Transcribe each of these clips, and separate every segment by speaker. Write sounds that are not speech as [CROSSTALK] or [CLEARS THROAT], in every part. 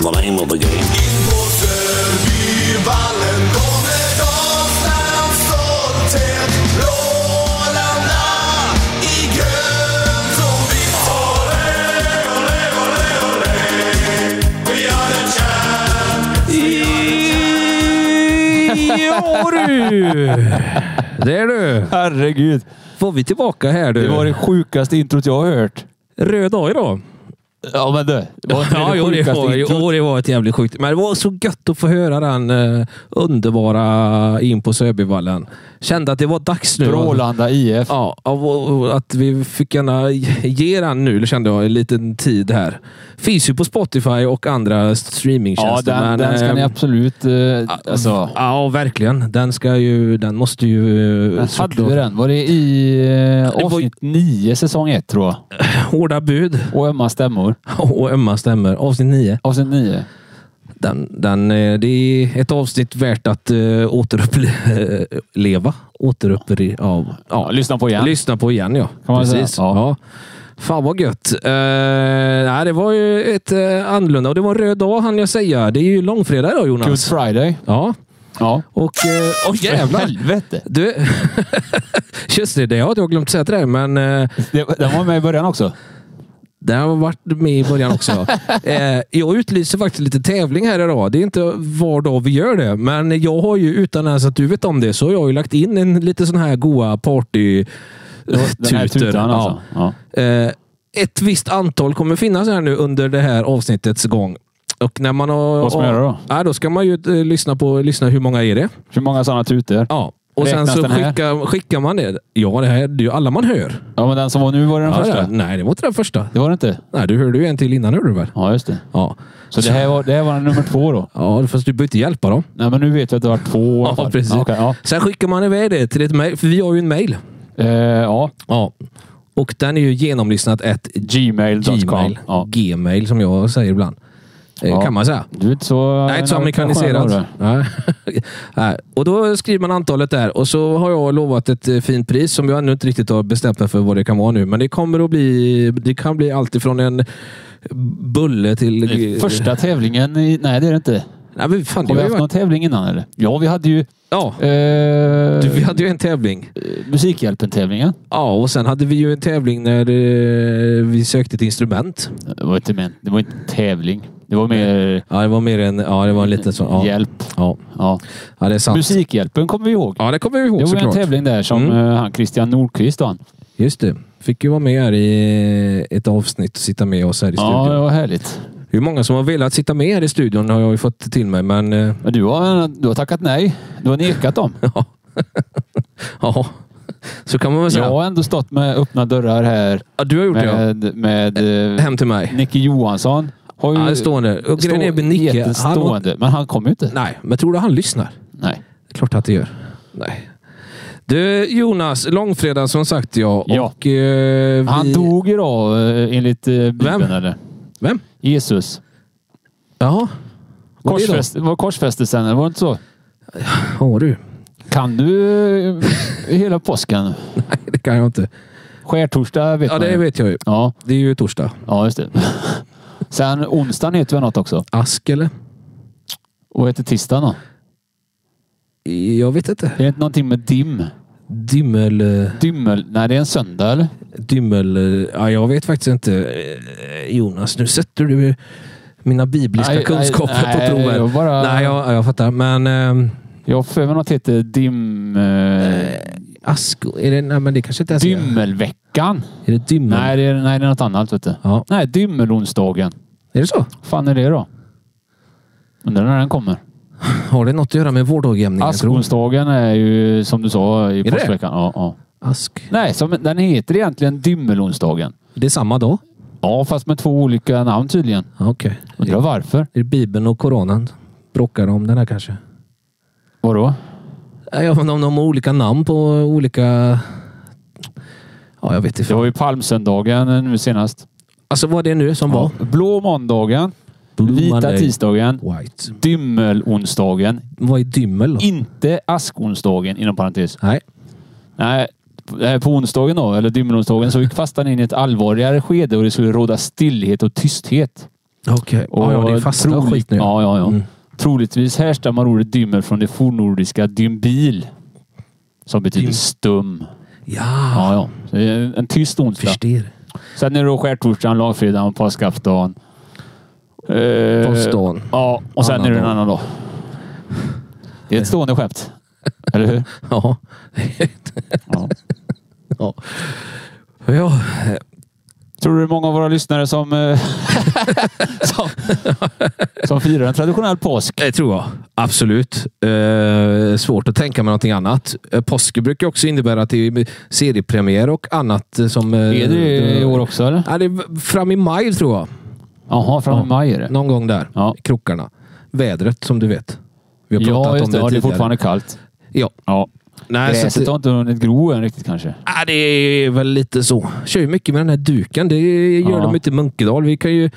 Speaker 1: the name of the game.
Speaker 2: Vallen kommer doftan stolthet Rålanda i grönt och vitt
Speaker 3: Ja du! Det är du!
Speaker 4: Herregud.
Speaker 3: Får vi tillbaka här du.
Speaker 4: Det var det sjukaste introt jag har hört.
Speaker 3: Röd dag idag.
Speaker 4: Ja men du. Det var inte
Speaker 3: [LAUGHS] Ja,
Speaker 4: det
Speaker 3: jo, det,
Speaker 4: sjukaste
Speaker 3: var,
Speaker 4: introt.
Speaker 3: jo, det var ett jävligt sjukt. Men det var så gött att få höra den eh, underbara in på Söbyvallen. Kände att det var dags nu.
Speaker 4: Brålanda IF.
Speaker 3: Ja, av- och- och att vi fick gärna ge den nu, kände jag, en liten tid här. Finns ju på Spotify och andra
Speaker 4: Ja,
Speaker 3: streamingtjänster.
Speaker 4: den,
Speaker 3: men,
Speaker 4: den ska
Speaker 3: eh,
Speaker 4: ni absolut... Eh, alltså,
Speaker 3: Ja, verkligen. Den ska ju... Den måste ju... eh,
Speaker 4: men hade
Speaker 3: såklart-
Speaker 4: vi den? Var det i eh,
Speaker 3: var-
Speaker 4: avsnitt nio, säsong ett tror jag?
Speaker 3: [LAUGHS] Hårda bud
Speaker 4: Och ömma stämmor.
Speaker 3: och ömma stämmer. Avsnitt 9.
Speaker 4: Avsnitt nio.
Speaker 3: Den, den, eh, det är ett avsnitt värt att uh, återuppleva. [LAUGHS] Återupple... Ja,
Speaker 4: Ja,
Speaker 3: ja.
Speaker 4: lyssna på igen.
Speaker 3: Lyssna på igen, ja.
Speaker 4: Kan man säga.
Speaker 3: Precis.
Speaker 4: Ja.
Speaker 3: Ja. Fan vad gött. Eh, nej, det var ju ett uh, annorlunda och det var en röd dag hann jag säga. Det är ju långfredag idag
Speaker 4: Good
Speaker 3: Jonas.
Speaker 4: Friday.
Speaker 3: Ja,
Speaker 4: Ja.
Speaker 3: och... Uh, oh, jävlar!
Speaker 4: helvete!
Speaker 3: Du, [LAUGHS] just det, det har jag glömt säga till dig, men eh,
Speaker 4: Det, den var med i början också.
Speaker 3: Det har varit med i början
Speaker 4: [LAUGHS]
Speaker 3: också. eh, jag utlyser faktiskt lite tävling här idag. Det är inte var dag vi gör det, men jag har ju utan ens att du vet om det så har jag ju lagt in en lite sån här goa party
Speaker 4: Den här tutan alltså. Ja.
Speaker 3: Ja. Eh, ett visst antal kommer finnas här nu under det här avsnittets gång. Och när man har,
Speaker 4: Vad ska man göra då?
Speaker 3: Ja, då ska man ju eh, lyssna på lyssna hur många är det.
Speaker 4: Hur många sådana tutor? Ja.
Speaker 3: Ja. Och
Speaker 4: Räknas
Speaker 3: sen så
Speaker 4: den här?
Speaker 3: skickar, skickar man det. Ja, det här det är ju alla man hör.
Speaker 4: men den som var nu var det den
Speaker 3: Ja,
Speaker 4: första.
Speaker 3: ja. Nej, det var inte den första.
Speaker 4: Det var det inte?
Speaker 3: Nej, du hörde ju en till innan hörde du väl?
Speaker 4: Ja, just det.
Speaker 3: Ja.
Speaker 4: Så det här var, det här var nummer två då?
Speaker 3: Ja, fast du behöver inte hjälpa dem.
Speaker 4: Nej, men nu vet jag att det var
Speaker 3: [LAUGHS]
Speaker 4: två i alla fall. [LAUGHS] Ja, okej, ja.
Speaker 3: Sen skickar man iväg det till ett mejl, för vi har ju en mejl.
Speaker 4: Eh, ja.
Speaker 3: Ja. Och den är ju genomlyssnat ett
Speaker 4: Gmail.com.
Speaker 3: Gmail.
Speaker 4: Ja.
Speaker 3: Gmail som jag säger ibland. Eh,
Speaker 4: Ja.
Speaker 3: Kan man säga.
Speaker 4: Du är inte så...
Speaker 3: Nej, inte så amerikaniserat. Nej. [LAUGHS] Nej. Och då skriver man antalet där och så har jag lovat ett eh, fint pris som jag ännu inte riktigt har bestämt mig för vad det kan vara nu. Men det kommer att bli... Det kan bli allt ifrån en bulle till...
Speaker 4: Första tävlingen i... Nej, det är det inte.
Speaker 3: Nej, men fan, det
Speaker 4: Har
Speaker 3: har
Speaker 4: vi
Speaker 3: ju
Speaker 4: haft någon
Speaker 3: varit...
Speaker 4: tävling innan eller? Ja, vi hade ju...
Speaker 3: Ja,
Speaker 4: Eh,
Speaker 3: du, vi hade ju en tävling.
Speaker 4: Musikhjälpen-tävlingen.
Speaker 3: Ja, och sen hade vi ju en tävling när eh, vi sökte ett instrument.
Speaker 4: Det var inte men, Det var inte en tävling. Det var mer
Speaker 3: Ja, det var mer en, ja, det var en liten sån. Ja,
Speaker 4: hjälp.
Speaker 3: ja.
Speaker 4: Ja.
Speaker 3: ja det är sant.
Speaker 4: Musikhjälpen kommer vi ihåg.
Speaker 3: Ja, det kommer vi
Speaker 4: Det
Speaker 3: ihåg
Speaker 4: var en
Speaker 3: såklart.
Speaker 4: tävling där som
Speaker 3: Mm.
Speaker 4: eh, han Christian Nordqvist vann.
Speaker 3: Just det. Fick ju vara med här i ett avsnitt och sitta med oss här i
Speaker 4: Ja,
Speaker 3: studion.
Speaker 4: det var härligt.
Speaker 3: Hur många som har velat sitta med här i studion har jag ju fått till mig, men eh,
Speaker 4: Men du har, du har tackat nej. Du har nekat dem.
Speaker 3: ja. ja. Så kan man väl säga.
Speaker 4: Jag
Speaker 3: Ja,
Speaker 4: har ändå stått med öppna dörrar här
Speaker 3: du har gjort det
Speaker 4: med, med
Speaker 3: ja.
Speaker 4: eh,
Speaker 3: Hem till mig.
Speaker 4: Nicke Johansson. Har ju
Speaker 3: Ja, det står där. Och grejen är med Nicke.
Speaker 4: Nicke.
Speaker 3: Han, har-
Speaker 4: Stående, men han kom ju inte.
Speaker 3: nej, men tror du han lyssnar?
Speaker 4: Nej.
Speaker 3: klart att det gör. Nej. Du Jonas, långfredagen som sagt ja.
Speaker 4: Ja.
Speaker 3: Och, eh, vi...
Speaker 4: Han dog ju då eh, enligt eh, Bibeln
Speaker 3: Vem?
Speaker 4: eller?
Speaker 3: Vem?
Speaker 4: Jesus.
Speaker 3: Ja. Var det då?
Speaker 4: Korsfäst, var korsfästelsen, eller var det inte så?
Speaker 3: Ja du.
Speaker 4: Kan du eh, hela påsken?
Speaker 3: Nej, [LAUGHS] det kan jag inte.
Speaker 4: Skärtorsdag vet
Speaker 3: Ja,
Speaker 4: man
Speaker 3: det
Speaker 4: ju.
Speaker 3: vet jag ju.
Speaker 4: Ja,
Speaker 3: Det är ju torsdag.
Speaker 4: ja, just det. [LAUGHS] Sen onsdagen heter väl något också?
Speaker 3: Ask eller?
Speaker 4: Och vad heter tisdagen då?
Speaker 3: Jag vet inte.
Speaker 4: Är det inte någonting med dim?
Speaker 3: Dymmel... eh,
Speaker 4: Dymmel? Nej, det är en söndag eller?
Speaker 3: Dymmel... eh, Ja, jag vet faktiskt inte. Eh, Jonas, nu sätter du mina bibliska
Speaker 4: Nej,
Speaker 3: kunskaper
Speaker 4: nej, nej,
Speaker 3: på prov
Speaker 4: jag
Speaker 3: här.
Speaker 4: bara-
Speaker 3: Nej, jag, jag fattar. Men... ehm,
Speaker 4: Jag har för mig något heter dim... Eh,
Speaker 3: ask... Är det, nej, men det kanske inte ens är...
Speaker 4: dymmelveckan?
Speaker 3: Är det dymmel?
Speaker 4: Nej, det är, nej, det är något annat vet du.
Speaker 3: Mm. Ja.
Speaker 4: Nej, dymmelonsdagen.
Speaker 3: Är det så?
Speaker 4: Vad fan är det då? Undrar när den kommer.
Speaker 3: Har det något att göra med vårdagjämningen? tror du?
Speaker 4: Askonsdagen är ju som du sa i
Speaker 3: det?
Speaker 4: påskveckan. Ja, ja.
Speaker 3: Ask.
Speaker 4: Nej, som, den heter egentligen Dymmelonsdagen.
Speaker 3: Det är samma dag?
Speaker 4: Ja, fast med två olika namn tydligen.
Speaker 3: Ja, Okej.
Speaker 4: Undrar varför.
Speaker 3: Är det Bibeln och Koranen? Bråkar om den här kanske?
Speaker 4: Vadå?
Speaker 3: Ja, men om de har olika namn på olika... Ja, jag vet inte.
Speaker 4: Det var ju palmsöndagen eh, nu senast.
Speaker 3: Alltså vad det är nu som var.
Speaker 4: Ja. Blå måndagen.
Speaker 3: Blue
Speaker 4: vita
Speaker 3: Monday.
Speaker 4: tisdagen.
Speaker 3: White.
Speaker 4: Dymmelonsdagen.
Speaker 3: Vad är dymmel då?
Speaker 4: Inte askonsdagen inom parentes.
Speaker 3: Nej.
Speaker 4: Nej, eh, på onsdagen då, eller dymmelonsdagen, så gick fastan in i ett allvarligare skede och det skulle råda stillhet och tysthet.
Speaker 3: Okej. Ja, ja, det är fasta
Speaker 4: troligt-
Speaker 3: skit nu.
Speaker 4: Ja, ja, ja.
Speaker 3: Mm.
Speaker 4: Troligtvis härstammar ordet dymmer från det fornnordiska dymbil. Som betyder
Speaker 3: Dym-
Speaker 4: stum.
Speaker 3: Ja,
Speaker 4: Ja, ja. Så det är en tyst onsdag.
Speaker 3: förstår.
Speaker 4: Sen är det då skärtorsdagen, lagfredagen och påskafton. Eh,
Speaker 3: Påskdagen.
Speaker 4: Ja, och sen
Speaker 3: Annan
Speaker 4: är det en
Speaker 3: dag.
Speaker 4: annan dag. Det är ett stående skämt. Eller hur?
Speaker 3: Ja. [LAUGHS]
Speaker 4: Ja.
Speaker 3: ja. Ja,
Speaker 4: Tror du det är många av våra lyssnare som, eh, [LAUGHS] som, som firar en traditionell påsk?
Speaker 3: det Eh, tror jag. Absolut. Eh, svårt att tänka mig någonting annat. Eh, påsk brukar ju också innebära att det är seriepremiär och annat eh, som... eh,
Speaker 4: Är det i år också eller?
Speaker 3: Ja, det är fram i maj tror jag.
Speaker 4: Jaha, fram i maj är det.
Speaker 3: Någon gång där.
Speaker 4: Ja.
Speaker 3: I krokarna. Vädret som du vet. Vi har pratat
Speaker 4: Ja,
Speaker 3: om
Speaker 4: just
Speaker 3: det
Speaker 4: det. Ja, det är
Speaker 3: tidigare.
Speaker 4: fortfarande kallt.
Speaker 3: Ja.
Speaker 4: Ja.
Speaker 3: Nej, så att
Speaker 4: Gräset
Speaker 3: det,
Speaker 4: har inte hunnit gro än riktigt kanske.
Speaker 3: ja, det är väl lite så. Kör ju mycket med den här duken. Det gör
Speaker 4: Ja.
Speaker 3: de inte i Munkedal. Vi kan ju...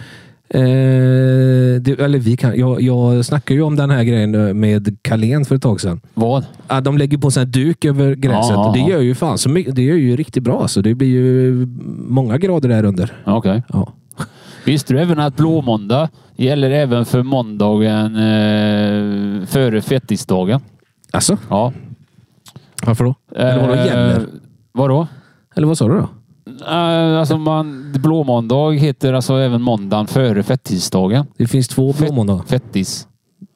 Speaker 3: Eh, det, eller vi kan. Jag, jag snackade ju om den här grejen med Kalén för ett tag sedan.
Speaker 4: Vad?
Speaker 3: Ja, de lägger på sig en duk över gräset.
Speaker 4: Ja, ja,
Speaker 3: och det
Speaker 4: ja.
Speaker 3: gör ju fan så mycket. Det gör ju riktigt bra. Så det blir ju många grader där under.
Speaker 4: Ja, Okej.
Speaker 3: Ja.
Speaker 4: Visste du även att blåmåndag gäller även för måndagen eh, före fettisdagen?
Speaker 3: Alltså,
Speaker 4: Ja.
Speaker 3: varför då? Eh, Eller vadå gäller?
Speaker 4: Vadå?
Speaker 3: Eller vad sa du då?
Speaker 4: Eh, Alltså man, blåmåndag heter alltså även måndagen före fettisdagen.
Speaker 3: Det finns två blåmåndagar.
Speaker 4: Fettis.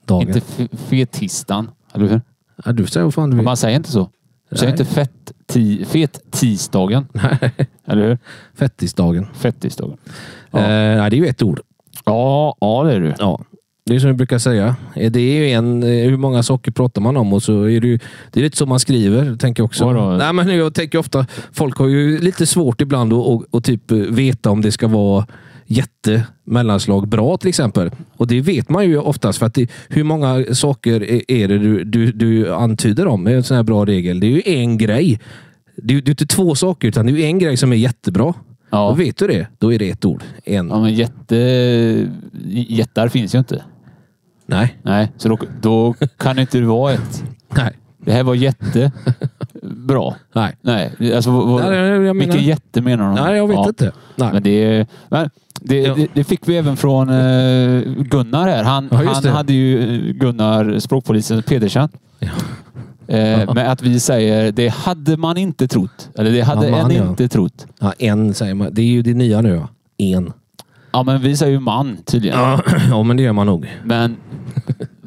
Speaker 3: Dagen.
Speaker 4: Inte fe- fetisdagen. Eller hur?
Speaker 3: Ja, du säger vad fan du vill.
Speaker 4: Man säger inte så. Du säger
Speaker 3: Nej.
Speaker 4: inte fett, ti, fet tisdagen. Eller hur?
Speaker 3: [LAUGHS] Fettisdagen.
Speaker 4: Fettisdagen.
Speaker 3: Ja.
Speaker 4: Ja.
Speaker 3: Eh, nej, det är ju ett ord.
Speaker 4: Ja, ja det är du.
Speaker 3: Ja. Det är som vi brukar säga. Eh, Det är ju en, eh, hur många saker pratar man om och så är det ju, det är lite så man skriver, tänker jag också.
Speaker 4: Vadå?
Speaker 3: Nej, men jag tänker ofta, folk har ju lite svårt ibland att och, och typ eh, veta om det ska vara jätte, mellanslag, bra till exempel. Och det vet man ju oftast för att det, hur många saker är- är det du, du, du antyder om? Det är en sån här bra regel. Det är ju en grej. Det är ju det är inte två saker, utan det är ju en grej som är jättebra.
Speaker 4: Ja.
Speaker 3: Och vet du det, då är det ett ord. En.
Speaker 4: Ja, men jätte... Jättar finns ju inte.
Speaker 3: Nej.
Speaker 4: Nej, så då, då kan det inte vara ett.
Speaker 3: Nej.
Speaker 4: Det här var jätte... Bra.
Speaker 3: Nej.
Speaker 4: Nej, alltså... vad- vad-
Speaker 3: Nej, jag menar-
Speaker 4: vilken jätte menar de?
Speaker 3: Nej, jag vet
Speaker 4: Ja.
Speaker 3: inte. Nej.
Speaker 4: Men det, men det,
Speaker 3: Ja.
Speaker 4: det, det fick vi även från eh, Gunnar här. Han,
Speaker 3: Ja, just
Speaker 4: han
Speaker 3: det.
Speaker 4: hade ju eh, Gunnar, språkpolisen Pedersen. Eh, med att vi säger det hade man inte trott. Eller det hade
Speaker 3: Ja, man,
Speaker 4: en
Speaker 3: ja.
Speaker 4: inte trott.
Speaker 3: Ja, en säger man. Det är ju det nya nu. Ja. En.
Speaker 4: Ja, men vi säger ju man tydligen.
Speaker 3: Ja. [CLEARS THROAT] ja, men det gör man nog.
Speaker 4: Men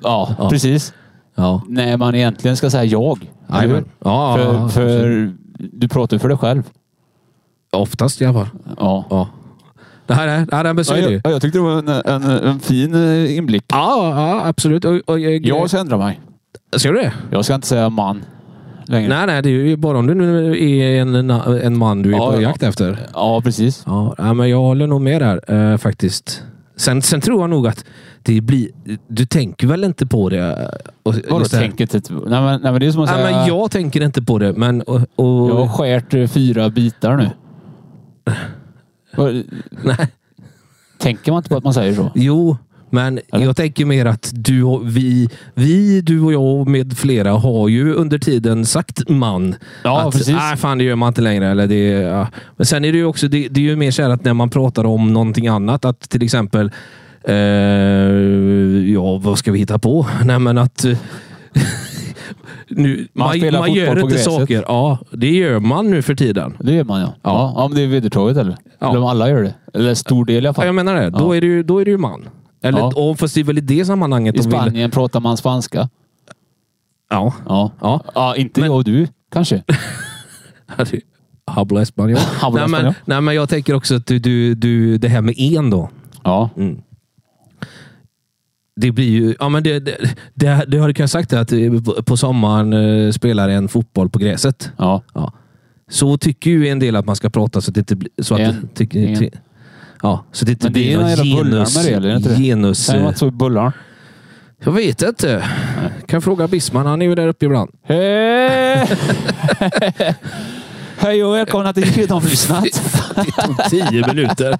Speaker 4: ja,
Speaker 3: [LAUGHS] Ja.
Speaker 4: precis.
Speaker 3: Ja.
Speaker 4: När man egentligen ska säga jag. eller hur?
Speaker 3: Jajamän. Ja, ja,
Speaker 4: för,
Speaker 3: ja,
Speaker 4: för du pratar ju för dig själv.
Speaker 3: Oftast i alla fall.
Speaker 4: Ja.
Speaker 3: Ja. Det här är... Nej, men så är det ju.
Speaker 4: jag, tyckte det var en, en, en fin eh, inblick.
Speaker 3: Ja, ja, absolut. Och, och, jag,
Speaker 4: Jag ska ändra mig.
Speaker 3: Ser du det?
Speaker 4: Jag ska inte säga man längre.
Speaker 3: Nej, nej. Det är ju bara om du nu är en, en man du är
Speaker 4: Ja,
Speaker 3: på
Speaker 4: ja.
Speaker 3: jakt efter.
Speaker 4: Ja, precis.
Speaker 3: Ja, ja, men jag håller nog med där eh, faktiskt. Sen, sen tror jag nog att det blir... Du tänker väl inte på det? eh, Och,
Speaker 4: Vadå
Speaker 3: just det här.
Speaker 4: tänker typ? Nej men, nej men det är som att
Speaker 3: Ja,
Speaker 4: säga...
Speaker 3: men jag tänker inte på det, men... Och, och,
Speaker 4: jag har skärt eh, fyra
Speaker 3: [LAUGHS]
Speaker 4: bitar nu. Vad-
Speaker 3: Nej.
Speaker 4: Tänker man inte på att man säger så?
Speaker 3: Jo, men
Speaker 4: Eller?
Speaker 3: jag tänker mer att du och vi, vi, du och jag med flera har ju under tiden sagt man.
Speaker 4: Ja,
Speaker 3: att,
Speaker 4: precis.
Speaker 3: Nej, fan det gör man inte längre. Eller det, ja. Men sen är det ju också, det, det är ju mer så här att när man pratar om någonting annat, att till exempel, eh, ja, vad ska vi hitta på? [LAUGHS] Nej, men att eh, nu,
Speaker 4: Man spelar fotboll
Speaker 3: gör
Speaker 4: på
Speaker 3: inte
Speaker 4: gräset.
Speaker 3: saker. Ja, det gör man nu för tiden.
Speaker 4: Det gör man ja. Ja, ja men det är vedertaget eller?
Speaker 3: Ja.
Speaker 4: Eller om alla gör det. Eller en stor del i alla
Speaker 3: Ja,
Speaker 4: fall.
Speaker 3: jag menar det. Då,
Speaker 4: Ja.
Speaker 3: är det ju, då är det ju man. Eller,
Speaker 4: Ja.
Speaker 3: ja. Fast det är väl i det sammanhanget
Speaker 4: I
Speaker 3: de vill-
Speaker 4: Spanien pratar man spanska.
Speaker 3: Ja.
Speaker 4: Ja. [LAUGHS]
Speaker 3: Ja.
Speaker 4: ja inte
Speaker 3: Men-
Speaker 4: jag och du kanske.
Speaker 3: Habla Espanol.
Speaker 4: Habla
Speaker 3: nej, men,
Speaker 4: español.
Speaker 3: nej, men jag tänker också att du, du, du, det här med en då.
Speaker 4: Ja.
Speaker 3: Det blir ju... Ja, men det, det, det, det har du kunnat sagt det, att eh, på sommaren eh, spelar en fotboll på gräset.
Speaker 4: Ja.
Speaker 3: Ja. Så tycker ju en del att man ska prata så att det inte blir... Så att,
Speaker 4: En.
Speaker 3: det- tycker-
Speaker 4: En.
Speaker 3: ty- ja, så att det inte
Speaker 4: Men det
Speaker 3: blir
Speaker 4: är några jävla bullar
Speaker 3: genus...
Speaker 4: med det, eller är det inte det?
Speaker 3: genus
Speaker 4: Säger man
Speaker 3: eh,
Speaker 4: inte så i bullarna?
Speaker 3: jag vet inte. Kan fråga Bisman. Han är ju där uppe ibland.
Speaker 4: Hej!
Speaker 3: [LAUGHS]
Speaker 4: Hej och välkomna till
Speaker 3: [LAUGHS]
Speaker 4: Kvitomlyssnat.
Speaker 3: Det tog tio
Speaker 4: [LAUGHS]
Speaker 3: minuter.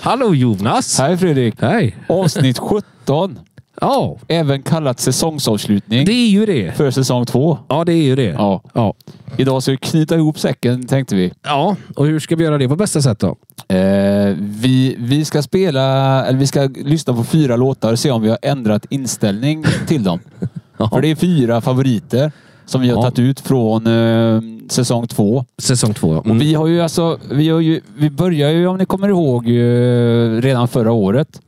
Speaker 3: Hallå Jonas!
Speaker 4: Hej Fredrik.
Speaker 3: Hej!
Speaker 4: Avsnitt 17.
Speaker 3: Ja,
Speaker 4: Även kallat säsongsavslutning
Speaker 3: det är ju det.
Speaker 4: för säsong två.
Speaker 3: Ja, det är ju det.
Speaker 4: Ja.
Speaker 3: Ja.
Speaker 4: Idag ska vi knyta ihop säcken, tänkte vi.
Speaker 3: ja, och hur ska vi göra det på bästa sätt då?
Speaker 4: Eh, vi, vi ska spela, eller vi ska lyssna på fyra låtar och se om vi har ändrat inställning
Speaker 3: [LAUGHS]
Speaker 4: till dem. För det är fyra favoriter som vi har
Speaker 3: Ja.
Speaker 4: tagit ut från eh, säsong två.
Speaker 3: Säsong två. ja. Mm.
Speaker 4: Vi har ju alltså, vi har ju, vi börjar ju om ni kommer ihåg eh, redan förra året.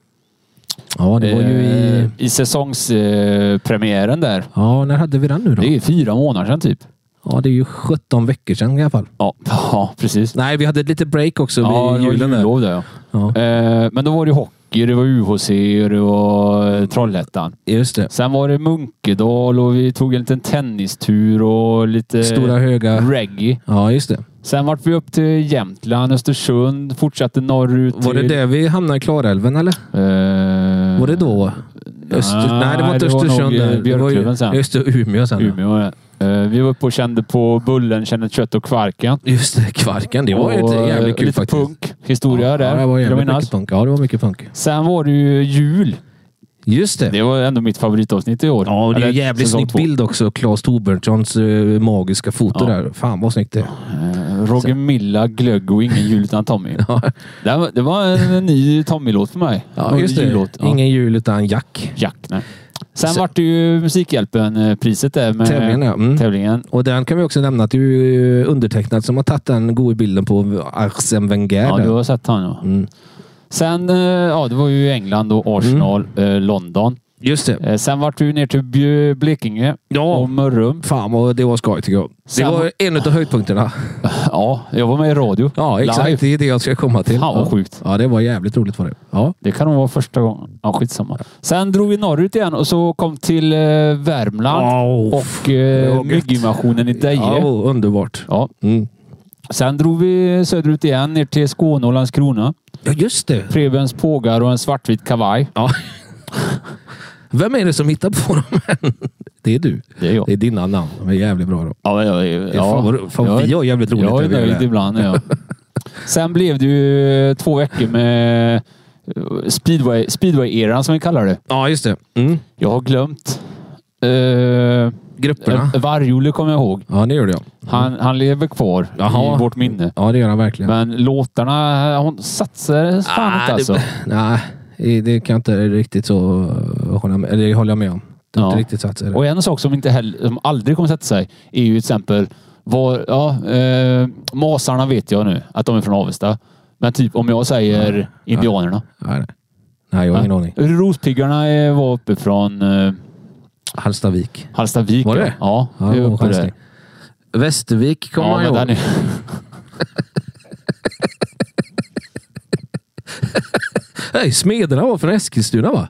Speaker 3: Ja, det var ju i...
Speaker 4: Eh, I säsongspremiären eh, premiären där.
Speaker 3: Ja, när hade vi den nu då?
Speaker 4: Det är fyra månader sedan typ.
Speaker 3: Ja, det är ju 17 veckor sedan i alla fall.
Speaker 4: Ja, [LAUGHS] ja precis.
Speaker 3: Nej, vi hade ett litet break också
Speaker 4: Ja,
Speaker 3: ja,
Speaker 4: det
Speaker 3: vid
Speaker 4: var
Speaker 3: julen. där.
Speaker 4: jullov där ja.
Speaker 3: Ja,
Speaker 4: Eh, men då var det ju hockey, det var UHC och det var eh, Trollhättan.
Speaker 3: just det.
Speaker 4: Sen var det Munkedal och vi tog en liten tennistur och lite
Speaker 3: Stora höga...
Speaker 4: reggae.
Speaker 3: Ja, just det.
Speaker 4: Sen vart vi upp till Jämtland, Östersund, fortsatte norrut.
Speaker 3: Var det
Speaker 4: till,
Speaker 3: där vi hamnade i Klarälven eller?
Speaker 4: Eh,
Speaker 3: Var det då? Öster... Nej, det var inte
Speaker 4: nog,
Speaker 3: Östersund.
Speaker 4: eh,
Speaker 3: där. Det var ju-
Speaker 4: Björklöven sen.
Speaker 3: Just det, Umeå sen. ja.
Speaker 4: Umeå. ja. Eh, Vi var uppe och kände på bullen, kände kött och kvarken.
Speaker 3: Just det, Kvarken. Det var ju
Speaker 4: Och,
Speaker 3: ett
Speaker 4: eh,
Speaker 3: jävligt kul
Speaker 4: lite
Speaker 3: faktiskt.
Speaker 4: punk historia
Speaker 3: ja,
Speaker 4: där.
Speaker 3: Ja, det var
Speaker 4: vill jag
Speaker 3: jävligt
Speaker 4: minnas.
Speaker 3: mycket punk. Ja, det var mycket punk.
Speaker 4: Sen var det ju jul.
Speaker 3: Just det.
Speaker 4: Det var ändå mitt favoritavsnitt i år.
Speaker 3: Ja, och det är en
Speaker 4: Eller
Speaker 3: jävligt
Speaker 4: säsong
Speaker 3: snygg
Speaker 4: två.
Speaker 3: bild också. Claes Torbjörnssons eh, magiska foto
Speaker 4: Ja.
Speaker 3: där. Fan vad snyggt det är.
Speaker 4: Eh, Roger Milla, Glögg och
Speaker 3: [LAUGHS]
Speaker 4: Ingen jul utan Tommy. det, var, det var en ny Tommy-låt för mig.
Speaker 3: Ja, just det.
Speaker 4: Jullåt. Ja.
Speaker 3: Ingen jul utan Jack.
Speaker 4: Jack. Nej. Sen
Speaker 3: Sen-
Speaker 4: vart det ju Musikhjälpen-priset där med
Speaker 3: Tävlingen, ja. Mm.
Speaker 4: tävlingen.
Speaker 3: Och den kan vi också nämna att det är ju undertecknat som har tagit den goda bilden på Arsene Wenger.
Speaker 4: Ja,
Speaker 3: där.
Speaker 4: du har sett han ja.
Speaker 3: Mm.
Speaker 4: Sen, eh, ja det var ju England och Arsenal,
Speaker 3: Mm.
Speaker 4: eh, London.
Speaker 3: Just det.
Speaker 4: Eh, Sen vart du ner till Bjö- Blekinge
Speaker 3: Ja.
Speaker 4: och Mörrum.
Speaker 3: Fan vad det var skoj tycker jag. Det
Speaker 4: Samma-
Speaker 3: var en av höjdpunkterna.
Speaker 4: Ja, jag var med i radio.
Speaker 3: Ja, exakt.
Speaker 4: Live.
Speaker 3: Det är det jag ska komma till.
Speaker 4: Fan vad
Speaker 3: ja.
Speaker 4: sjukt.
Speaker 3: ja, det var jävligt roligt var det. Ja.
Speaker 4: Det kan nog vara första gången. Ja, skitsamma. Sen drog vi norrut igen och så kom till eh, Värmland
Speaker 3: Wow.
Speaker 4: och eh,
Speaker 3: var gött.
Speaker 4: mygginvasionen i Deje.
Speaker 3: Ja,
Speaker 4: Ja.
Speaker 3: vad underbart. Mm.
Speaker 4: Sen drog vi söderut igen ner till Skåne och Landskrona.
Speaker 3: Ja, just det.
Speaker 4: Prebens pågar och en svartvit kavaj.
Speaker 3: Ja. Vem är det som hittar på dem än? [LAUGHS] Det är du.
Speaker 4: Det är jag.
Speaker 3: Det är dina namn. De är jävligt bra. Då.
Speaker 4: Ja, ja, ja,
Speaker 3: Ja, fan, vad- fan,
Speaker 4: jag,
Speaker 3: vi har jävligt roligt
Speaker 4: Jag
Speaker 3: när
Speaker 4: är
Speaker 3: vi gör
Speaker 4: nöjd
Speaker 3: det.
Speaker 4: ibland.
Speaker 3: [LAUGHS]
Speaker 4: Ja. Sen blev det ju två veckor med eh, speedway- speedway-eran som vi kallar det.
Speaker 3: Ja, just det. Mm.
Speaker 4: Jag har glömt. Uh,
Speaker 3: Grupperna.
Speaker 4: Varjole kommer jag ihåg.
Speaker 3: Ja, det gjorde jag.
Speaker 4: Han, han lever kvar
Speaker 3: Jaha.
Speaker 4: i vårt minne.
Speaker 3: Ja, det gör han verkligen.
Speaker 4: Men låtarna, hon satsar fan
Speaker 3: Ah,
Speaker 4: inte
Speaker 3: det-
Speaker 4: alltså.
Speaker 3: Nej, det kan jag inte riktigt så eh, hålla med, eller hålla med om. Det är
Speaker 4: Ja.
Speaker 3: inte riktigt så att säga.
Speaker 4: Och en sak som, inte heller, som aldrig kommer sätta sig är ju till exempel var, ja, eh, Masarna vet jag nu att de är från Avesta. Men typ om jag säger Indianerna.
Speaker 3: Nej, nej. nej, jag har ingen aning.
Speaker 4: Rospiggarna eh, var uppe från eh,
Speaker 3: Hallstavik.
Speaker 4: Hallstavik.
Speaker 3: Var
Speaker 4: ja.
Speaker 3: det?
Speaker 4: Ja,
Speaker 3: Ja,
Speaker 4: det är uppe
Speaker 3: chansning.
Speaker 4: där.
Speaker 3: Västervik kommer
Speaker 4: Ja,
Speaker 3: man
Speaker 4: men
Speaker 3: ihåg.
Speaker 4: den är,
Speaker 3: Nej, Smederna var från Eskilstuna va?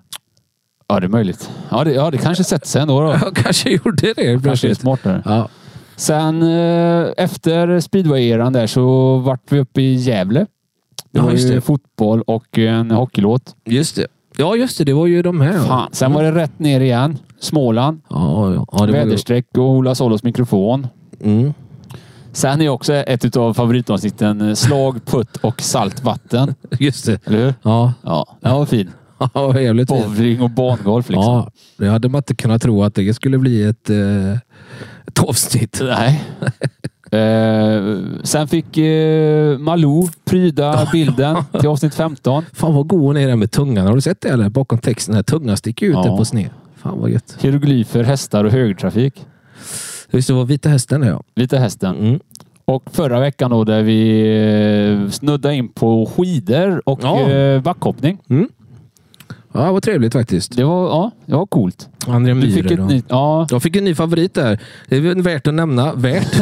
Speaker 4: ja, det är möjligt. Ja, det, ja, det kanske sätter sig ändå. Då.
Speaker 3: Jag [LAUGHS] kanske gjorde det
Speaker 4: Kanske är
Speaker 3: plötsligt.
Speaker 4: smartare.
Speaker 3: Ja.
Speaker 4: Sen eh, efter speedway-eran där så vart vi uppe i Gävle. Det
Speaker 3: Ja,
Speaker 4: var
Speaker 3: just
Speaker 4: ju
Speaker 3: det.
Speaker 4: fotboll och en hockeylåt.
Speaker 3: Just det. Ja, just det. Det var ju de här. ja.
Speaker 4: Fan. Sen var det rätt ner igen. Småland.
Speaker 3: Ja, ja. ja det var det.
Speaker 4: Väderstreck och Ola Solos mikrofon.
Speaker 3: Mm.
Speaker 4: Sen är också ett av favoritavsnitten eh, Slag, putt
Speaker 3: [LAUGHS]
Speaker 4: och saltvatten.
Speaker 3: Just det.
Speaker 4: Eller hur?
Speaker 3: Ja,
Speaker 4: Ja, den var fin.
Speaker 3: [LAUGHS] ja vad jävligt fint.
Speaker 4: Bowling och bangolf liksom.
Speaker 3: Ja, det hade man inte kunnat tro att det skulle bli ett, eh, ett avsnitt.
Speaker 4: Nej. Eh, sen fick eh, Malou pryda bilden till avsnitt 15.
Speaker 3: [LAUGHS] Fan vad god hon är där med tungan. Har du sett det eller? Bakom texten. Här, tungan sticker ut
Speaker 4: Ja.
Speaker 3: där på sned. Fan vad gött.
Speaker 4: Hieroglyfer, hästar och högtrafik.
Speaker 3: Just det, var Vita Hästen ja.
Speaker 4: Vita hästen.
Speaker 3: Mm.
Speaker 4: Och förra veckan då där vi eh, snuddade in på skidor och
Speaker 3: Ja.
Speaker 4: eh, backhoppning.
Speaker 3: Ja, vad trevligt faktiskt.
Speaker 4: Det var, ja, det var coolt.
Speaker 3: André
Speaker 4: Du
Speaker 3: Myhren.
Speaker 4: fick ett
Speaker 3: och-
Speaker 4: nytt... Ja,
Speaker 3: Jag fick en ny favorit där. Det är väl värt att nämna. Värt.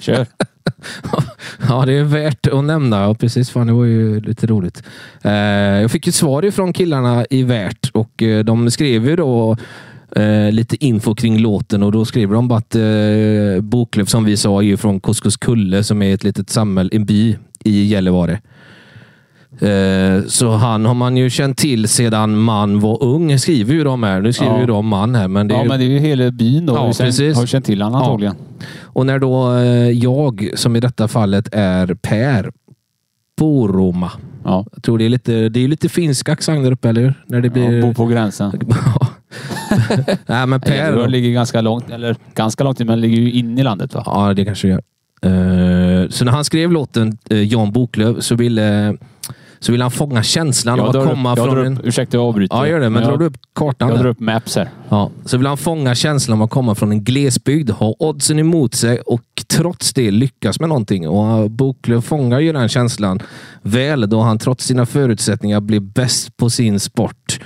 Speaker 4: kör.
Speaker 3: [LAUGHS] Ja, det är värt att nämna. Ja, precis. Fan, det var ju lite roligt. Eh, jag fick ju svar ifrån killarna i Värt och eh, de skrev ju då eh, lite info kring låten och då skrev de bara att eh, Boklöv, som vi sa, är ju från Koskuskulle som är ett litet samhälle, en by i Gällivare. Eh, Så han har man ju känt till sedan man var ung, skriver ju de här. Nu skriver
Speaker 4: Ja.
Speaker 3: ju de man här, men [LAUGHS] det är
Speaker 4: Ja,
Speaker 3: ju
Speaker 4: men det är ju hela byn då.
Speaker 3: Ja,
Speaker 4: Ja,
Speaker 3: precis.
Speaker 4: precis. Har ju känt till honom
Speaker 3: Ja.
Speaker 4: antagligen.
Speaker 3: Och när då eh, jag, som i detta fallet är Per Boroma,
Speaker 4: Ja. Ja.
Speaker 3: Jag tror det är lite, det är lite finsk accent där uppe, eller hur? När det blir...
Speaker 4: Ja, bo på gränsen.
Speaker 3: [LAUGHS] Nej, men Per...
Speaker 4: Gävleborg ligger ganska långt, eller ganska långt in, men ligger ju in i landet va?
Speaker 3: Ja, det kanske det gör. Eh, så när han skrev låten eh, Jan Boklöv så ville, så ville han fånga känslan av
Speaker 4: drar
Speaker 3: att komma
Speaker 4: upp, jag
Speaker 3: från
Speaker 4: drar
Speaker 3: en...
Speaker 4: upp, Ursäkta, jag avbryter.
Speaker 3: Ja, gör det. Men drar
Speaker 4: jag,
Speaker 3: du upp kartan?
Speaker 4: Jag
Speaker 3: där?
Speaker 4: drar upp maps här.
Speaker 3: Ja. Så vill han fånga känslan av att komma från en glesbygd, ha oddsen emot sig och trots det lyckas med någonting. Och eh, Boklöv fångar ju den känslan väl då han trots sina förutsättningar blev bäst på sin sport